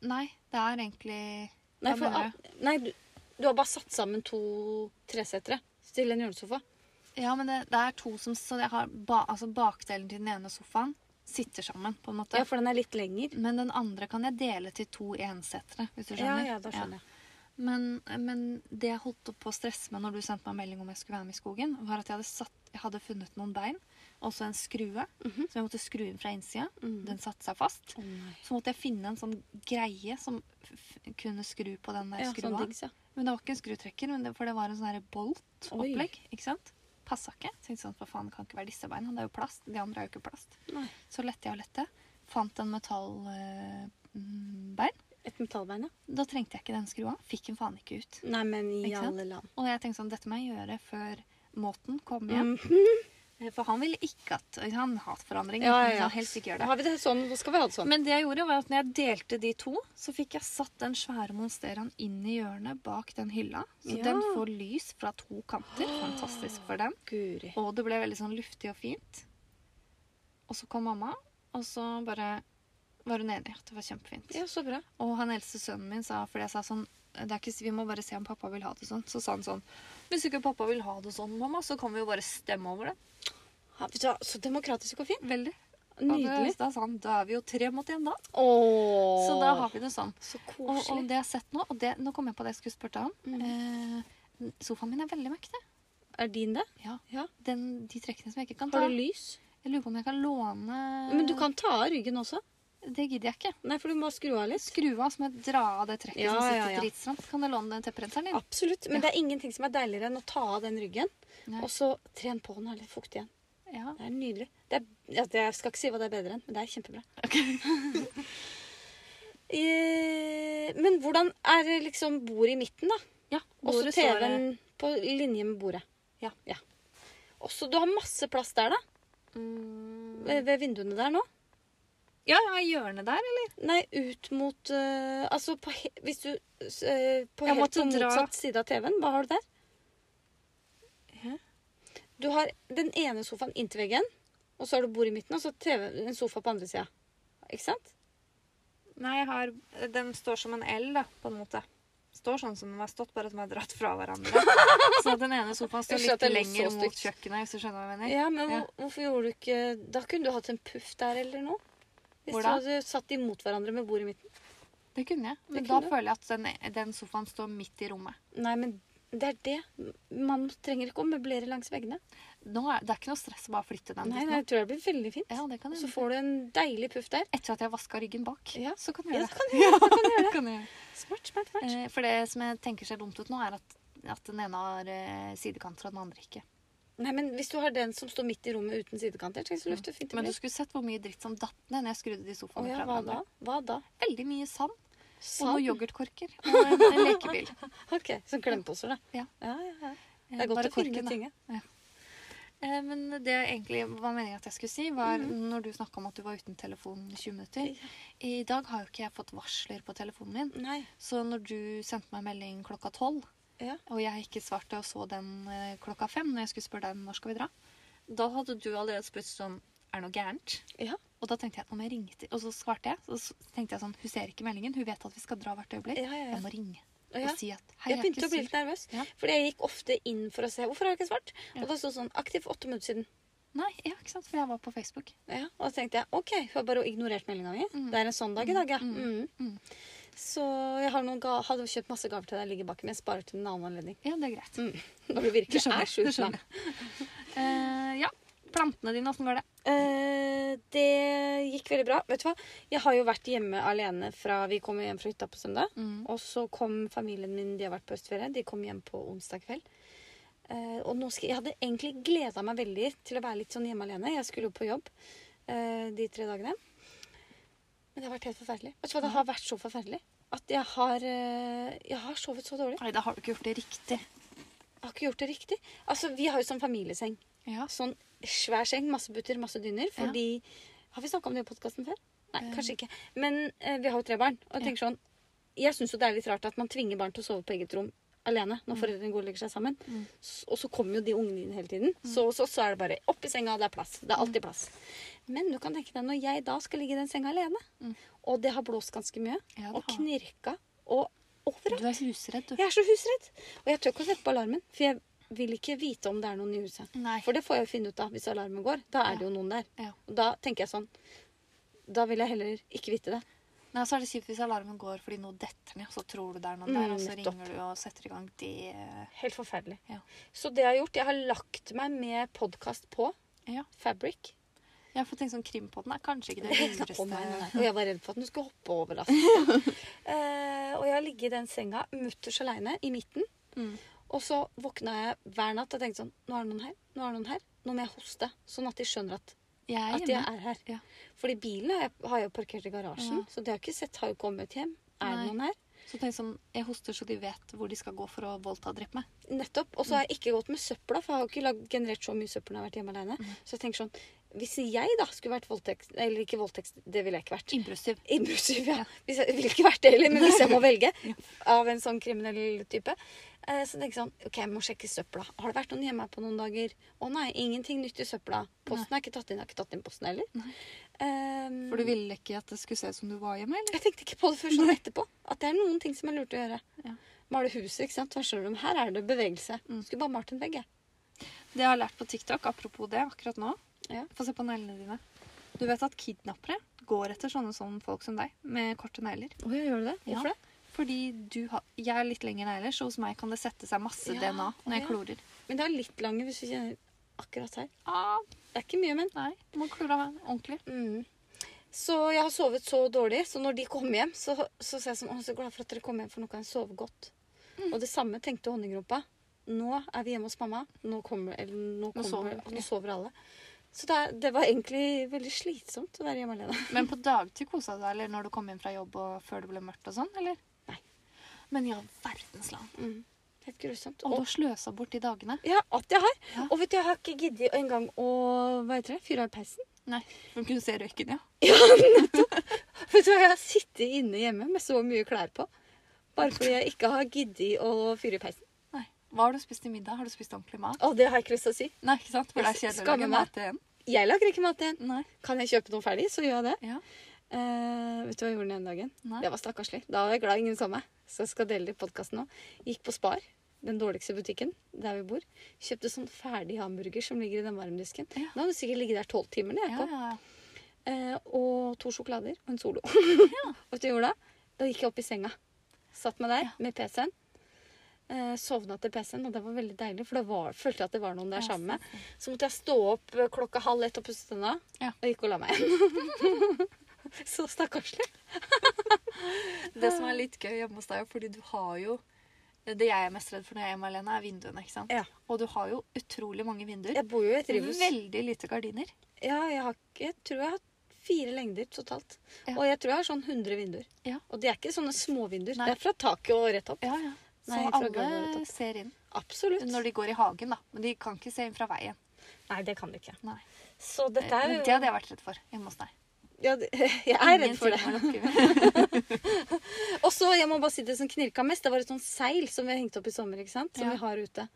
Speaker 2: Nei, det er egentlig
Speaker 1: Nei,
Speaker 2: Hva
Speaker 1: for,
Speaker 2: mener
Speaker 1: nei du, du har bare satt sammen to tresettere til en hjørnesofa.
Speaker 2: Ja, men det, det er to som Så jeg har ba, altså bakdelen til den ene sofaen sitter sammen, på en måte.
Speaker 1: Ja, for den er litt lenger.
Speaker 2: Men den andre kan jeg dele til to ensettere, hvis du
Speaker 1: Ja,
Speaker 2: skjønner.
Speaker 1: ja, da skjønner jeg.
Speaker 2: Men, men det jeg holdt opp på å stresse med når du sendte meg melding om jeg skulle være med i skogen, var at jeg hadde, satt, jeg hadde funnet noen bein, også en skrue,
Speaker 1: Mhm.
Speaker 2: som jeg måtte skru inn fra innsida.
Speaker 1: Mhm.
Speaker 2: Den satte seg fast.
Speaker 1: Å nei.
Speaker 2: Så måtte jeg finne en sånn greie som f- f- kunne skru på den der
Speaker 1: Ja,
Speaker 2: skrua.
Speaker 1: sånn dings, ja.
Speaker 2: Men det var ikke en skrutrekker, men det, for det var en sånn her bolt-opplegg. ikke sant? Passa ikke. Tenkte sånn, for faen, det kan ikke være disse beina. Det er jo plast. De andre er jo ikke plast.
Speaker 1: Nei.
Speaker 2: Så lette jeg og lette. Fant en metallbein. Øh, bein.
Speaker 1: Et metallbein, ja.
Speaker 2: da trengte jeg ikke den skrua. Fikk den faen ikke ut.
Speaker 1: Nei, men i
Speaker 2: Ikke sant?
Speaker 1: alle land.
Speaker 2: Og jeg tenkte sånn, dette må jeg gjøre før måten kommer hjem.
Speaker 1: Mm.
Speaker 2: For han ville ikke at Han hatforandring.
Speaker 1: Ja, ja, ja.
Speaker 2: Han ville helst ikke
Speaker 1: Da
Speaker 2: gjøre det.
Speaker 1: har vi det sånn. Da skal vi ha det sånn.
Speaker 2: Men det jeg gjorde, var at når jeg delte de to, så fikk jeg satt den svære monsteraen inn i hjørnet bak den hylla. Så
Speaker 1: Ja.
Speaker 2: den får lys fra to kanter. Fantastisk for den.
Speaker 1: Guri.
Speaker 2: Og det ble veldig sånn luftig og fint. Og så kom mamma, og så bare var hun enig i at det var kjempefint.
Speaker 1: Ja, så bra.
Speaker 2: Og han eldste sønnen min sa, fordi jeg sa sånn det er ikke, Vi må bare se om pappa vil ha det sånn. Så sa han sånn Hvis ikke pappa vil ha det sånn, mamma, så kan vi jo bare stemme over det.
Speaker 1: Ja, vet du hva, Så demokratisk og fint.
Speaker 2: Veldig.
Speaker 1: Nydelig.
Speaker 2: Og Da, da, sa han, da er vi jo tre mot én, da.
Speaker 1: Åh,
Speaker 2: Så da har vi det sånn.
Speaker 1: Så
Speaker 2: Og, og
Speaker 1: koselig.
Speaker 2: det jeg har sett nå, og det, nå kom jeg på det jeg skulle spørre deg om.
Speaker 1: Mm.
Speaker 2: Eh, sofaen min er veldig møkkete.
Speaker 1: Er din det?
Speaker 2: Ja.
Speaker 1: Ja.
Speaker 2: Den, de trekkene som jeg ikke kan ta.
Speaker 1: Har du lys?
Speaker 2: Jeg lurer på om jeg kan låne
Speaker 1: Men du kan ta av ryggen også.
Speaker 2: Det gidder jeg ikke.
Speaker 1: Nei, for du må skru av litt.
Speaker 2: Skru av, så må jeg dra av det trekket
Speaker 1: Ja,
Speaker 2: som sitter
Speaker 1: ja, ja.
Speaker 2: dritstramt. Kan jeg låne den tepperenseren din?
Speaker 1: Absolutt. Men
Speaker 2: Ja.
Speaker 1: det er ingenting som er deiligere enn å ta av den ryggen,
Speaker 2: Nei.
Speaker 1: og så tren på den og ha litt fuktig igjen.
Speaker 2: Ja.
Speaker 1: Det er nydelig. Det er, ja, det, jeg skal ikke si hva det er bedre enn, men det er kjempebra. eh, men hvordan er det liksom bordet i midten, da?
Speaker 2: Ja,
Speaker 1: Og så
Speaker 2: bordet står det-
Speaker 1: TV-en på linje med bordet.
Speaker 2: Ja.
Speaker 1: ja. Også, du har masse plass der, da?
Speaker 2: Mm.
Speaker 1: Ved, ved vinduene der nå?
Speaker 2: Ja, ja, i hjørnet der, eller?
Speaker 1: Nei, ut mot eh, Altså, på, he- hvis du eh, på,
Speaker 2: Jeg
Speaker 1: helt på
Speaker 2: måtte dra.
Speaker 1: motsatt side av TV-en, hva har du der?
Speaker 2: Hæ?
Speaker 1: Du har den ene sofaen inntil veggen, og så har du bordet i midten, og så TV, en sofa på andre sida. Ikke sant?
Speaker 2: Nei, jeg har, den står som en L, da, på en måte. Står sånn som den har stått, bare at den er dratt fra hverandre. så den ene sofaen står
Speaker 1: Unnskyld at jeg lo
Speaker 2: litt
Speaker 1: så
Speaker 2: lenger mot
Speaker 1: stygt.
Speaker 2: kjøkkenet, hvis du skjønner hva jeg mener.
Speaker 1: Ja, men hvor,
Speaker 2: Ja.
Speaker 1: hvorfor gjorde du ikke Da kunne du hatt en puff der eller noe. Hvis
Speaker 2: Hvor
Speaker 1: du
Speaker 2: da?
Speaker 1: hadde satt de mot hverandre med bordet i midten.
Speaker 2: Det kunne jeg. Men
Speaker 1: Det
Speaker 2: da
Speaker 1: kunne du.
Speaker 2: føler jeg at den, den sofaen står midt i rommet.
Speaker 1: Nei, men det er det. Man trenger ikke å møblere langs veggene.
Speaker 2: Nå er, det er ikke noe stress å bare flytte den.
Speaker 1: Nei,
Speaker 2: dit nå.
Speaker 1: nei, jeg tror det blir veldig fint.
Speaker 2: Ja, det kan
Speaker 1: Og
Speaker 2: jeg.
Speaker 1: så får du en deilig puff der.
Speaker 2: Etter at jeg har vaska ryggen bak,
Speaker 1: Ja.
Speaker 2: så kan jeg
Speaker 1: Ja,
Speaker 2: gjøre
Speaker 1: så
Speaker 2: det.
Speaker 1: kan du gjøre det. Kan du gjøre det.
Speaker 2: Kan jeg gjøre det.
Speaker 1: Smart, smart, smart.
Speaker 2: Eh, For det som jeg tenker ser dumt ut nå, er at, at den ene har eh, sidekanter og den andre ikke.
Speaker 1: Nei, men Hvis du har den som står midt i rommet uten sidekanter tenk så luftet fint det
Speaker 2: Men du
Speaker 1: blir.
Speaker 2: skulle sett hvor mye dritt som datt ned når jeg skrudde de
Speaker 1: Å
Speaker 2: sofaene
Speaker 1: ja,
Speaker 2: fra
Speaker 1: hva da?
Speaker 2: hverandre.
Speaker 1: Hva da?
Speaker 2: Veldig mye sand. Og noen
Speaker 1: Sand?
Speaker 2: yoghurtkorker og en, en lekebil.
Speaker 1: Ok, Som klemposer, da.
Speaker 2: Ja.
Speaker 1: Ja, ja, ja.
Speaker 2: Eh,
Speaker 1: Det er godt
Speaker 2: bare
Speaker 1: å finne
Speaker 2: korken, da.
Speaker 1: ting. ja.
Speaker 2: Eh, Men det jeg egentlig var meningen at jeg skulle si, var
Speaker 1: Mm.
Speaker 2: når du snakka om at du var uten telefon i 20 minutter. I dag har jo ikke jeg fått varsler på telefonen min.
Speaker 1: Nei.
Speaker 2: Så når du sendte meg melding klokka tolv,
Speaker 1: Ja.
Speaker 2: og jeg ikke svarte og så den eh, klokka fem når jeg skulle spørre deg når skal vi dra, da hadde du allerede spurt sånn Er det noe gærent?
Speaker 1: Ja.
Speaker 2: Og da tenkte jeg om jeg ringte, og så svarte jeg, så s- tenkte jeg sånn Hun ser ikke meldingen, hun vet at vi skal dra hvert øyeblikk.
Speaker 1: Ja, ja, ja.
Speaker 2: Jeg må ringe
Speaker 1: Å,
Speaker 2: og
Speaker 1: ja.
Speaker 2: si at
Speaker 1: Jeg
Speaker 2: Hei, jeg er
Speaker 1: begynte
Speaker 2: ikke
Speaker 1: å bli litt
Speaker 2: sur.
Speaker 1: nervøs.
Speaker 2: Ja.
Speaker 1: Fordi jeg gikk ofte inn for å se hvorfor har jeg ikke svart.
Speaker 2: Ja.
Speaker 1: Og da sto det sånn 'aktiv åtte minutter siden'.
Speaker 2: Nei, ja, ikke sant, for jeg var på Facebook.
Speaker 1: Ja, og da tenkte jeg OK, hun har bare ignorert meldinga mi.
Speaker 2: Mm.
Speaker 1: Det er en sånn dag i dag, ja.
Speaker 2: Mm.
Speaker 1: Mm.
Speaker 2: Mm.
Speaker 1: Så jeg har noen ga hadde kjøpt masse gaver til deg, ligger baki, men jeg sparer til en annen anledning.
Speaker 2: Ja, det er greit.
Speaker 1: Når du virkelig er
Speaker 2: det
Speaker 1: sjukt lam.
Speaker 2: skjønner jeg. Eh, ja. Plantene dine, åssen går det?
Speaker 1: Eh, det gikk veldig bra. Vet du hva? Jeg har jo vært hjemme alene fra vi kom hjem fra hytta på søndag.
Speaker 2: Mm.
Speaker 1: Og så kom familien min, de har vært på østferie. De kom hjem på onsdag kveld. Eh, og nå skal, jeg hadde egentlig gleda meg veldig til å være litt sånn hjemme alene. Jeg skulle jo på jobb eh, de tre dagene. Men det har vært helt forferdelig. Vet du hva, Det har vært så forferdelig at jeg har, eh, jeg har sovet så dårlig.
Speaker 2: Nei, da har du ikke gjort det riktig.
Speaker 1: Jeg har ikke gjort det riktig. Altså, Vi har jo sånn familieseng.
Speaker 2: Ja.
Speaker 1: Sånn svær seng, masse butter, masse dyner. Fordi Har vi snakka om det i podkasten før? Nei,
Speaker 2: Eh.
Speaker 1: kanskje ikke. Men eh, vi har jo tre barn. Og jeg
Speaker 2: Ja.
Speaker 1: tenker sånn Jeg syns jo det er litt rart at man tvinger barn til å sove på eget rom alene når foreldrene går og legger seg sammen.
Speaker 2: Mm.
Speaker 1: S- Og så kommer jo de ungene inn hele tiden. Så, så, så er det bare opp i senga, det er plass. Det er
Speaker 2: Mm.
Speaker 1: alltid plass. Men du kan tenke deg når jeg da skal ligge i den senga alene,
Speaker 2: Mm.
Speaker 1: og det har blåst ganske mye,
Speaker 2: Ja, det
Speaker 1: og
Speaker 2: har.
Speaker 1: knirka, og overalt
Speaker 2: Du er husredd, du.
Speaker 1: Jeg er så husredd. Og jeg tør ikke å sette på alarmen, for jeg vil ikke vite om det er noen i huset.
Speaker 2: Nei.
Speaker 1: For det får jeg jo finne ut av hvis alarmen går. Da er det jo noen der.
Speaker 2: Ja.
Speaker 1: Og da tenker jeg sånn Da vil jeg heller ikke vite det.
Speaker 2: Nei, så altså, er det kjipt hvis alarmen går fordi noe detter ned, og så tror du det er noen
Speaker 1: Mm,
Speaker 2: der, og så
Speaker 1: nettopp.
Speaker 2: ringer du og setter i gang det
Speaker 1: Helt forferdelig.
Speaker 2: Ja.
Speaker 1: Så det jeg har gjort Jeg har lagt meg med podkast på.
Speaker 2: Ja.
Speaker 1: Fabric.
Speaker 2: Jeg får tenkt sånn krimpodden er kanskje ikke det
Speaker 1: Å, nei, nei,
Speaker 2: lureste.
Speaker 1: nei. Og jeg var redd for at den skulle hoppe over. Altså. eh, og jeg har ligget i den senga mutters aleine i midten.
Speaker 2: Mm.
Speaker 1: Og så våkna jeg hver natt og tenkte sånn Nå er det noen her. Nå er det noen her. Nå må jeg hoste. Sånn at de skjønner at,
Speaker 2: Jeg er
Speaker 1: at jeg
Speaker 2: hjemme.
Speaker 1: er her.
Speaker 2: Ja.
Speaker 1: Fordi bilen har jeg, har jeg jo parkert i garasjen,
Speaker 2: Ja.
Speaker 1: så de har ikke sett. Har jo kommet hjem. Er
Speaker 2: Nei.
Speaker 1: det noen her?
Speaker 2: Så tenk sånn, jeg hoster så de vet hvor de skal gå for å voldta og drepe meg.
Speaker 1: Nettopp. Og så har jeg ikke gått med søpla, for jeg har jo ikke lag- generert så mye søppel når jeg har vært hjemme alene.
Speaker 2: Mhm.
Speaker 1: Så jeg tenker sånn Hvis jeg da skulle vært voldtekts... Eller ikke voldtekts, det ville jeg ikke vært.
Speaker 2: Impulsiv.
Speaker 1: Impulsiv, ja.
Speaker 2: Ja.
Speaker 1: Hvis jeg, ville ikke vært det heller, men hvis jeg må velge av en sånn kriminell type. eh, Så tenker jeg sånn OK, jeg må sjekke søpla. Har det vært noen hjemme her på noen dager? Å nei, ingenting nytt i søpla. Posten er ikke tatt inn. Jeg har ikke tatt inn posten heller. Ehm,
Speaker 2: For du ville ikke at det skulle se ut som du var hjemme, eller?
Speaker 1: jeg tenkte ikke på det før sånn etterpå. At det er noen ting som er lurt å gjøre.
Speaker 2: Ja. Mm.
Speaker 1: Male huset, ikke sant. Hva skjønner du? Her er det bevegelse. Skulle bare malt en vegg, jeg.
Speaker 2: Det jeg har lært på TikTok, apropos det, akkurat nå,
Speaker 1: Ja.
Speaker 2: Få se på neglene dine. Du vet at kidnappere går etter sånne som folk som deg, med korte negler.
Speaker 1: Å ja, gjør du det?
Speaker 2: Hvorfor
Speaker 1: Hvorfor det?
Speaker 2: det? Fordi du har, jeg har litt lengre negler, så hos meg kan det sette seg masse
Speaker 1: Ja,
Speaker 2: DNA når jeg
Speaker 1: ja.
Speaker 2: klorer.
Speaker 1: Men det er litt lange hvis du kjenner akkurat her.
Speaker 2: Ah,
Speaker 1: Det er ikke mye, men.
Speaker 2: nei, du må klore av ordentlig.
Speaker 1: Mm. Så jeg har sovet så dårlig, så når de kom hjem, så, så sa jeg sånn Å, så glad for at dere kom hjem, for nå kan jeg sove godt. Og det samme tenkte honningrumpa. Nå er vi hjemme hos mamma. Nå kommer, eller, nå
Speaker 2: Nå
Speaker 1: kommer, nå
Speaker 2: sover
Speaker 1: sover,
Speaker 2: vi.
Speaker 1: alle. Så det, er- det var egentlig veldig slitsomt å være hjemme alene.
Speaker 2: Men på dagtid kosa du deg, eller når du kom hjem fra jobb og før det ble mørkt og sånn, eller?
Speaker 1: Nei.
Speaker 2: Men i all verdens land.
Speaker 1: Mm. Helt grusomt.
Speaker 2: Og du
Speaker 1: Og,
Speaker 2: har sløsa bort de dagene.
Speaker 1: ja, at jeg har.
Speaker 2: Ja.
Speaker 1: Og vet du, jeg har ikke giddet engang å hva heter det, fyre av peisen.
Speaker 2: Nei. Du kunne se røyken, ja.
Speaker 1: Vet du hva, Jeg har sittet inne hjemme med så mye klær på. Bare fordi jeg ikke har giddet å fyre i peisen.
Speaker 2: Nei. Hva har du spist til middag? Har du spist ordentlig mat?
Speaker 1: Å, det har jeg ikke lyst til å si.
Speaker 2: Nei, ikke sant? For det er
Speaker 1: Jeg
Speaker 2: kjedelig å
Speaker 1: skammer
Speaker 2: lage
Speaker 1: meg.
Speaker 2: mat igjen.
Speaker 1: Jeg lager ikke mat igjen.
Speaker 2: Nei.
Speaker 1: Kan jeg kjøpe noe ferdig, så gjør jeg det.
Speaker 2: Ja.
Speaker 1: Eh, vet du hva jeg gjorde den ene dagen?
Speaker 2: Nei.
Speaker 1: Det var stakkarslig. Da var jeg glad ingen så meg. Så jeg skal dele det i podkasten nå. Gikk på Spar, den dårligste butikken der vi bor. Kjøpte sånn ferdig hamburger som ligger i den varmdisken.
Speaker 2: Ja.
Speaker 1: Nå har du sikkert ligget der tolv timer. når jeg
Speaker 2: Ja,
Speaker 1: kom.
Speaker 2: ja, ja.
Speaker 1: Eh, og to sjokolader og en solo. Vet du hva jeg gjorde da? Da gikk jeg opp i senga. Satt meg der
Speaker 2: Ja.
Speaker 1: med PC-en. Eh, sovna til PC-en, og det var veldig deilig, for da var, følte jeg at det var noen der
Speaker 2: Ja,
Speaker 1: sammen med. Så måtte jeg stå opp eh, klokka halv ett og pusse tenna,
Speaker 2: Ja.
Speaker 1: og gikk og la meg igjen. Så stakkarslig.
Speaker 2: Det som er litt gøy hjemme hos deg, fordi du har jo Det jeg er mest redd for når jeg er hjemme alene, er vinduene. ikke sant?
Speaker 1: Ja.
Speaker 2: Og du har jo utrolig mange vinduer.
Speaker 1: Jeg bor jo i et drivhus.
Speaker 2: Veldig lite gardiner.
Speaker 1: Ja, jeg, har, ikke- jeg tror jeg har fire lengder totalt.
Speaker 2: Ja.
Speaker 1: Og jeg tror jeg har sånn 100 vinduer.
Speaker 2: Ja.
Speaker 1: Og det er ikke sånne småvinduer.
Speaker 2: Nei.
Speaker 1: Det er fra taket og rett opp.
Speaker 2: Ja, ja. Så
Speaker 1: Nei, fra gulvet og
Speaker 2: alle
Speaker 1: topp.
Speaker 2: ser inn.
Speaker 1: Absolutt.
Speaker 2: Når de går i hagen, da. Men de kan ikke se inn fra veien.
Speaker 1: Nei, det kan du ikke.
Speaker 2: Nei.
Speaker 1: Så dette er
Speaker 2: Men
Speaker 1: jo
Speaker 2: det hadde jeg vært redd for hjemme hos deg.
Speaker 1: Ja, det- jeg er redd for det.
Speaker 2: Ingenting må lukke.
Speaker 1: Og så, jeg må bare si det som knirka mest, det var et sånt seil som vi har hengt opp i sommer. ikke sant? Som
Speaker 2: Ja.
Speaker 1: vi har ute.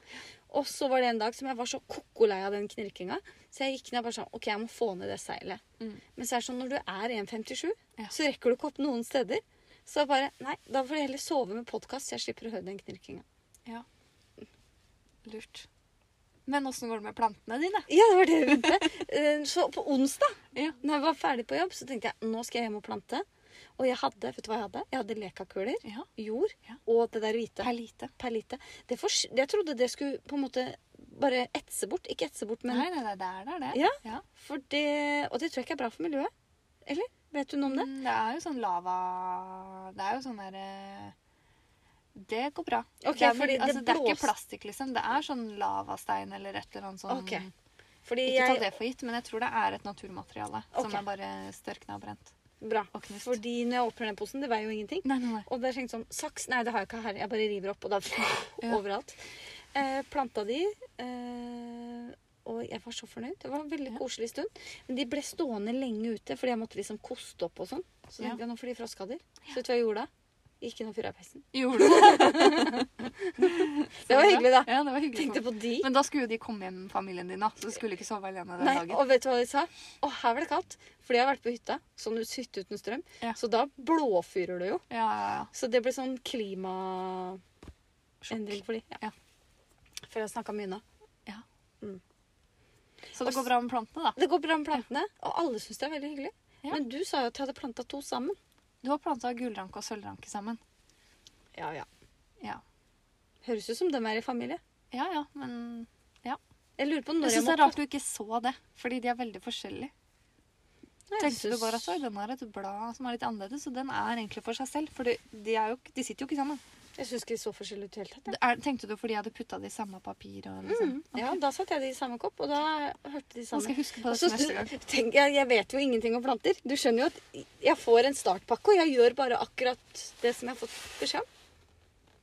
Speaker 1: Og så var det en dag som jeg var så koko lei av den knirkinga. Så jeg gikk ned og bare sånn OK, jeg må få ned det seilet.
Speaker 2: Mm.
Speaker 1: Men så er det sånn når du er 1,57,
Speaker 2: Ja.
Speaker 1: så rekker du ikke opp noen steder. Så jeg bare Nei, da får jeg heller sove med podkast, så jeg slipper å høre den knirkinga.
Speaker 2: Lurt. Men åssen går det med plantene dine?
Speaker 1: Ja, det var det vi begynte. Eh, Så på onsdag,
Speaker 2: Ja.
Speaker 1: når jeg var ferdig på jobb, så tenkte jeg nå skal jeg hjem og plante. Og jeg hadde, vet du hva jeg hadde? Jeg hadde lekakuler,
Speaker 2: Ja.
Speaker 1: jord
Speaker 2: Ja.
Speaker 1: og det der hvite.
Speaker 2: Det er lite.
Speaker 1: per lite. Det fors- jeg trodde det skulle på en måte bare etse bort. Ikke etse bort, men
Speaker 2: Nei, nei, nei, det er der, det.
Speaker 1: Ja.
Speaker 2: ja.
Speaker 1: for det, Og det tror jeg ikke er bra for miljøet. Eller? Vet du noe om det?
Speaker 2: Mm, Det er jo sånn lava Det er jo sånn derre Det går bra.
Speaker 1: Ok,
Speaker 2: det, er,
Speaker 1: fordi
Speaker 2: vel-
Speaker 1: det
Speaker 2: altså, det, er
Speaker 1: blås-
Speaker 2: ikke plastikk, liksom. Det er sånn lavastein eller et eller annet sånn
Speaker 1: Ok. Fordi
Speaker 2: Ikke ta
Speaker 1: jeg
Speaker 2: det for gitt, men jeg tror det er et naturmateriale som
Speaker 1: Ok.
Speaker 2: er bare størkna og brent.
Speaker 1: Bra.
Speaker 2: Og knust.
Speaker 1: Fordi når jeg åpner den posen, det veier jo ingenting.
Speaker 2: Nei, nei, nei.
Speaker 1: Og det er tenkt sånn Saks? Nei, det har jeg ikke her. Jeg bare river opp, og da
Speaker 2: Ja.
Speaker 1: overalt. Eh, planta de. Eh, og jeg var så fornøyd. Det var en veldig
Speaker 2: Ja.
Speaker 1: koselig stund. Men de ble stående lenge ute, fordi jeg måtte liksom koste opp og sånn. Så
Speaker 2: Ja.
Speaker 1: tenkte jeg nå får de froskader. Så vet du hva jeg gjorde da? Gikk inn og fyra i peisen.
Speaker 2: Gjorde du det?
Speaker 1: Det var hyggelig, da.
Speaker 2: Ja, det var hyggelig.
Speaker 1: Tenkte på de.
Speaker 2: Men da skulle jo de komme hjem, familien din, da. Så du skulle ikke sove alene den
Speaker 1: Nei,
Speaker 2: dagen.
Speaker 1: og vet du hva de sa? Å, her var det kaldt. Fordi jeg har vært på hytta, sånn ut- hytte uten strøm.
Speaker 2: Ja.
Speaker 1: Så da blåfyrer du jo.
Speaker 2: Ja, ja, ja.
Speaker 1: Så det ble sånn klimaendring for de.
Speaker 2: Ja.
Speaker 1: For jeg har snakka mye nå.
Speaker 2: Så
Speaker 1: Og
Speaker 2: det
Speaker 1: s-
Speaker 2: går bra med plantene, da.
Speaker 1: Det går bra med plantene, og alle syns det er veldig hyggelig.
Speaker 2: Ja.
Speaker 1: Men du sa jo at jeg hadde planta to sammen.
Speaker 2: Du har planta gulranke og sølvranke sammen.
Speaker 1: Ja, ja.
Speaker 2: Ja.
Speaker 1: Høres ut som de er i familie.
Speaker 2: Ja ja, men
Speaker 1: Jeg lurer på når
Speaker 2: Jeg
Speaker 1: jeg, må
Speaker 2: syns det er rart du ikke så det, fordi de er veldig forskjellige.
Speaker 1: Nei, jeg
Speaker 2: Tenkte du
Speaker 1: synes-
Speaker 2: bare at «Oi, den har et blad som er litt annerledes, og den er egentlig for seg selv. For det- de, er jo, ikke- de sitter jo ikke sammen.
Speaker 1: Jeg syns ikke de så forskjellige ut i det hele tatt. jeg.
Speaker 2: Det Er, tenkte du fordi jeg hadde putta det i samme papir? Og liksom.
Speaker 1: Ja, da satt jeg de i samme kopp, og da hørte de
Speaker 2: Nå
Speaker 1: sammen.
Speaker 2: skal jeg huske på
Speaker 1: Og
Speaker 2: det
Speaker 1: så
Speaker 2: til neste gang.
Speaker 1: tenker jeg, jeg vet jo ingenting om planter. Du skjønner jo at jeg får en startpakke, og jeg gjør bare akkurat det som jeg har fått beskjed om.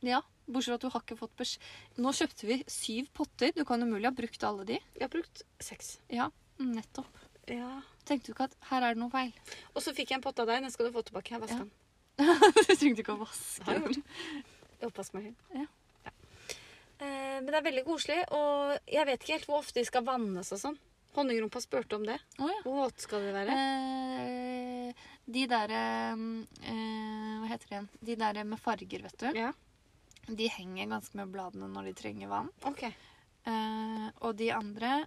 Speaker 2: Ja, Bortsett fra at du har ikke fått beskjed Nå kjøpte vi syv potter. Du kan umulig ha brukt alle de.
Speaker 1: Jeg har brukt seks.
Speaker 2: Ja, nettopp.
Speaker 1: Ja.
Speaker 2: Tenkte du ikke at her er det noe feil?
Speaker 1: Og så fikk jeg en pott av deg. Den skal du få tilbake. Jeg vasker
Speaker 2: Ja.
Speaker 1: den.
Speaker 2: du trengte ikke å vaske
Speaker 1: Har jeg
Speaker 2: den.
Speaker 1: I oppvaskmaskinen.
Speaker 2: Ja.
Speaker 1: Ja. Eh, Men det er veldig koselig, og jeg vet ikke helt hvor ofte de skal vannes og sånn. Honningrumpa spurte om det.
Speaker 2: Å, ja.
Speaker 1: Hvor våt skal de være?
Speaker 2: Eh, de derre eh, Hva heter det igjen? De derre med farger, vet du.
Speaker 1: Ja.
Speaker 2: De henger ganske med bladene når de trenger vann.
Speaker 1: OK.
Speaker 2: Eh, og de andre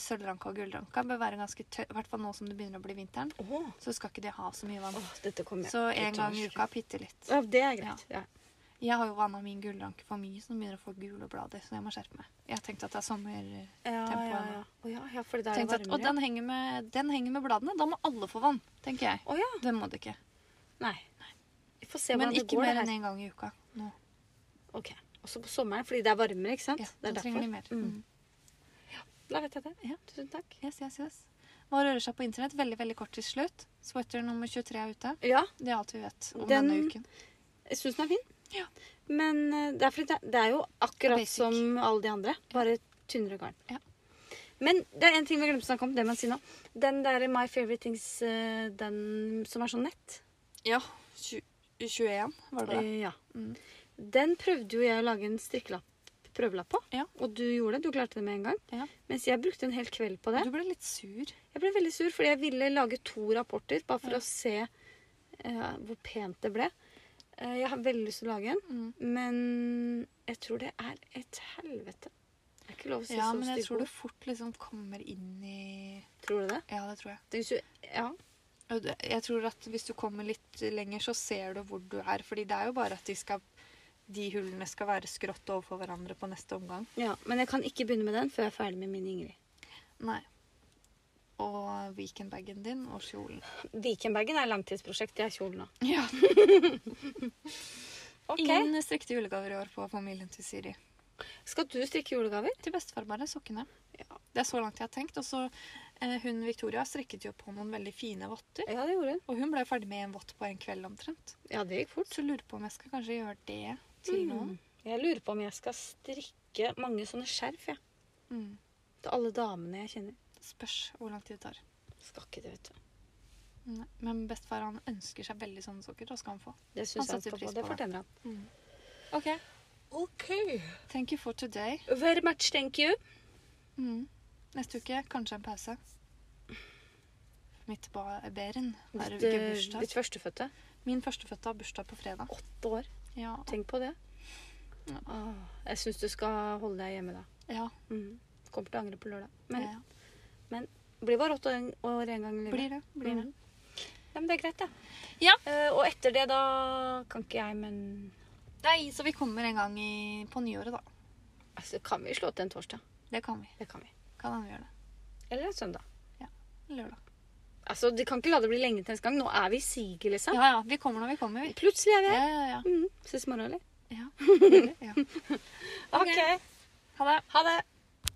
Speaker 2: sølvranka og gullranka bør være ganske tørr, i hvert fall nå som det begynner å bli vinteren.
Speaker 1: Åh,
Speaker 2: Så skal ikke de ha så mye vann.
Speaker 1: åh, dette kommer jeg
Speaker 2: Så
Speaker 1: ikke
Speaker 2: en
Speaker 1: til å
Speaker 2: gang i
Speaker 1: orke.
Speaker 2: uka, bitte litt.
Speaker 1: Ja, det er greit. Ja.
Speaker 2: Jeg har jo vanna min gullranke for mye, så den begynner å få gule blader. Så jeg må skjerpe meg. Jeg tenkte at det er sommer...
Speaker 1: Ja, ja,
Speaker 2: Tempoet
Speaker 1: ja.
Speaker 2: nå.
Speaker 1: Å ja, ja, fordi det er jo
Speaker 2: Tenkte at,
Speaker 1: varmere.
Speaker 2: og den henger, med, den henger med bladene. Da må alle få vann, tenker jeg.
Speaker 1: Å ja.
Speaker 2: Det må det ikke.
Speaker 1: Nei. Vi får se
Speaker 2: Men
Speaker 1: hvordan det
Speaker 2: ikke
Speaker 1: går.
Speaker 2: mer
Speaker 1: det
Speaker 2: enn
Speaker 1: her.
Speaker 2: én gang i uka. Nå.
Speaker 1: Ok. Også på sommeren, fordi det er varmere, ikke sant?
Speaker 2: Ja,
Speaker 1: det
Speaker 2: da
Speaker 1: er derfor.
Speaker 2: trenger de mer.
Speaker 1: Mm.
Speaker 2: Mm.
Speaker 1: Da vet jeg det.
Speaker 2: Ja.
Speaker 1: Tusen takk.
Speaker 2: Yes, yes, yes. Hva rører seg på internett? Veldig veldig kort til slutt. Sweater nummer 23 er ute.
Speaker 1: Ja,
Speaker 2: Det er alt vi vet om
Speaker 1: Den-
Speaker 2: denne uken.
Speaker 1: jeg syns den er fin.
Speaker 2: Ja.
Speaker 1: Men eh, det er, fordi det, det er jo akkurat
Speaker 2: Basic.
Speaker 1: som alle de andre, bare tynnere garn.
Speaker 2: Ja.
Speaker 1: Men det er en ting vi glemte å snakke om. det man sier nå. Den der My Favorite Things, eh, den som er sånn nett,
Speaker 2: Ja. 21, var det det?
Speaker 1: Eh, Ja.
Speaker 2: Mm.
Speaker 1: Den prøvde jo jeg å lage en strikkelapp, prøvelapp på.
Speaker 2: Ja.
Speaker 1: Og du gjorde det. Du klarte det med en gang.
Speaker 2: Ja.
Speaker 1: Mens jeg brukte en hel kveld på det.
Speaker 2: Du ble litt sur.
Speaker 1: Jeg ble veldig sur, fordi jeg ville lage to rapporter bare for
Speaker 2: Ja.
Speaker 1: å se eh, hvor pent det ble. Eh, jeg har veldig lyst til å lage en,
Speaker 2: Mm.
Speaker 1: men jeg tror det er et helvete. Det er ikke lov å si
Speaker 2: Ja,
Speaker 1: så
Speaker 2: men jeg
Speaker 1: stygge
Speaker 2: tror du
Speaker 1: ord.
Speaker 2: fort liksom kommer inn i
Speaker 1: Tror du det?
Speaker 2: Ja, det tror jeg.
Speaker 1: Det er jo- Ja.
Speaker 2: Og det- Jeg tror at hvis du kommer litt lenger, så ser du hvor du er. Fordi det er jo bare at de, skal, de hullene skal være skrått overfor hverandre på neste omgang.
Speaker 1: ja. Men jeg kan ikke begynne med den før jeg er ferdig med min Ingrid.
Speaker 2: Nei. Og weekendbagen din og kjolen.
Speaker 1: Vikenbagen er langtidsprosjekt. Det er kjolen nå.
Speaker 2: Ja.
Speaker 1: Ok.
Speaker 2: Ingen strikte julegaver i år på familien til Siri.
Speaker 1: Skal du strikke julegaver?
Speaker 2: Til bestefar bare sokkene. Det er så langt jeg har tenkt. Og så eh, hun Victoria strikket jo på noen veldig fine votter.
Speaker 1: Ja, det gjorde hun. Mm.
Speaker 2: Og hun ble ferdig med en vott på en kveld omtrent.
Speaker 1: Ja, det gikk fort.
Speaker 2: Så lurer på om jeg skal kanskje gjøre det
Speaker 1: Mm.
Speaker 2: til noen.
Speaker 1: Jeg lurer på om jeg skal strikke mange sånne skjerf jeg.
Speaker 2: Mm.
Speaker 1: til alle damene jeg kjenner.
Speaker 2: Spørs hvor lang tid det tar.
Speaker 1: Skal ikke det, vet du.
Speaker 2: Nei, Men bestefar han ønsker seg veldig sånne sokker. Da skal han få.
Speaker 1: Det syns
Speaker 2: Han
Speaker 1: han,
Speaker 2: setter
Speaker 1: skal få.
Speaker 2: pris
Speaker 1: Det
Speaker 2: på det.
Speaker 1: fortjener han.
Speaker 2: Ok,
Speaker 1: OK.
Speaker 2: Thank you for today.
Speaker 1: Very much thank you.
Speaker 2: Mm. Neste uke kanskje en pause. Mitt ba bæren har
Speaker 1: Ditt,
Speaker 2: ikke
Speaker 1: eh,
Speaker 2: bursdag.
Speaker 1: ditt førstefødte.
Speaker 2: Min førstefødte har bursdag på fredag.
Speaker 1: Åtte år.
Speaker 2: Ja.
Speaker 1: Tenk på det.
Speaker 2: Ja.
Speaker 1: Åh, jeg syns du skal holde deg hjemme da.
Speaker 2: ja.
Speaker 1: Mm. Kommer til å angre på lørdag. Men
Speaker 2: ja.
Speaker 1: blir bare åtte år- år en gang i livet.
Speaker 2: Blir det. Blir det.
Speaker 1: Mm. Ja, men det er greit, det.
Speaker 2: Ja.
Speaker 1: Eh, og etter det, da kan ikke jeg, men
Speaker 2: Nei, så vi kommer en gang i, på nyåret, da.
Speaker 1: altså, Kan vi slå til en torsdag?
Speaker 2: Det kan vi.
Speaker 1: Det kan vi.
Speaker 2: Kan hende vi gjør det.
Speaker 1: Eller en søndag.
Speaker 2: Lørdag.
Speaker 1: Altså, De kan ikke la det bli lenge til neste gang. Nå er vi i siget, liksom.
Speaker 2: Ja ja, vi kommer når vi kommer, vi.
Speaker 1: Plutselig er vi
Speaker 2: Ja
Speaker 1: her. Mhm.
Speaker 2: ja ja.
Speaker 1: Mm, ses i morgen, eller?
Speaker 2: ja. Veldig, ja. Ok.
Speaker 1: Ok.
Speaker 2: Ha det.
Speaker 1: Ha det.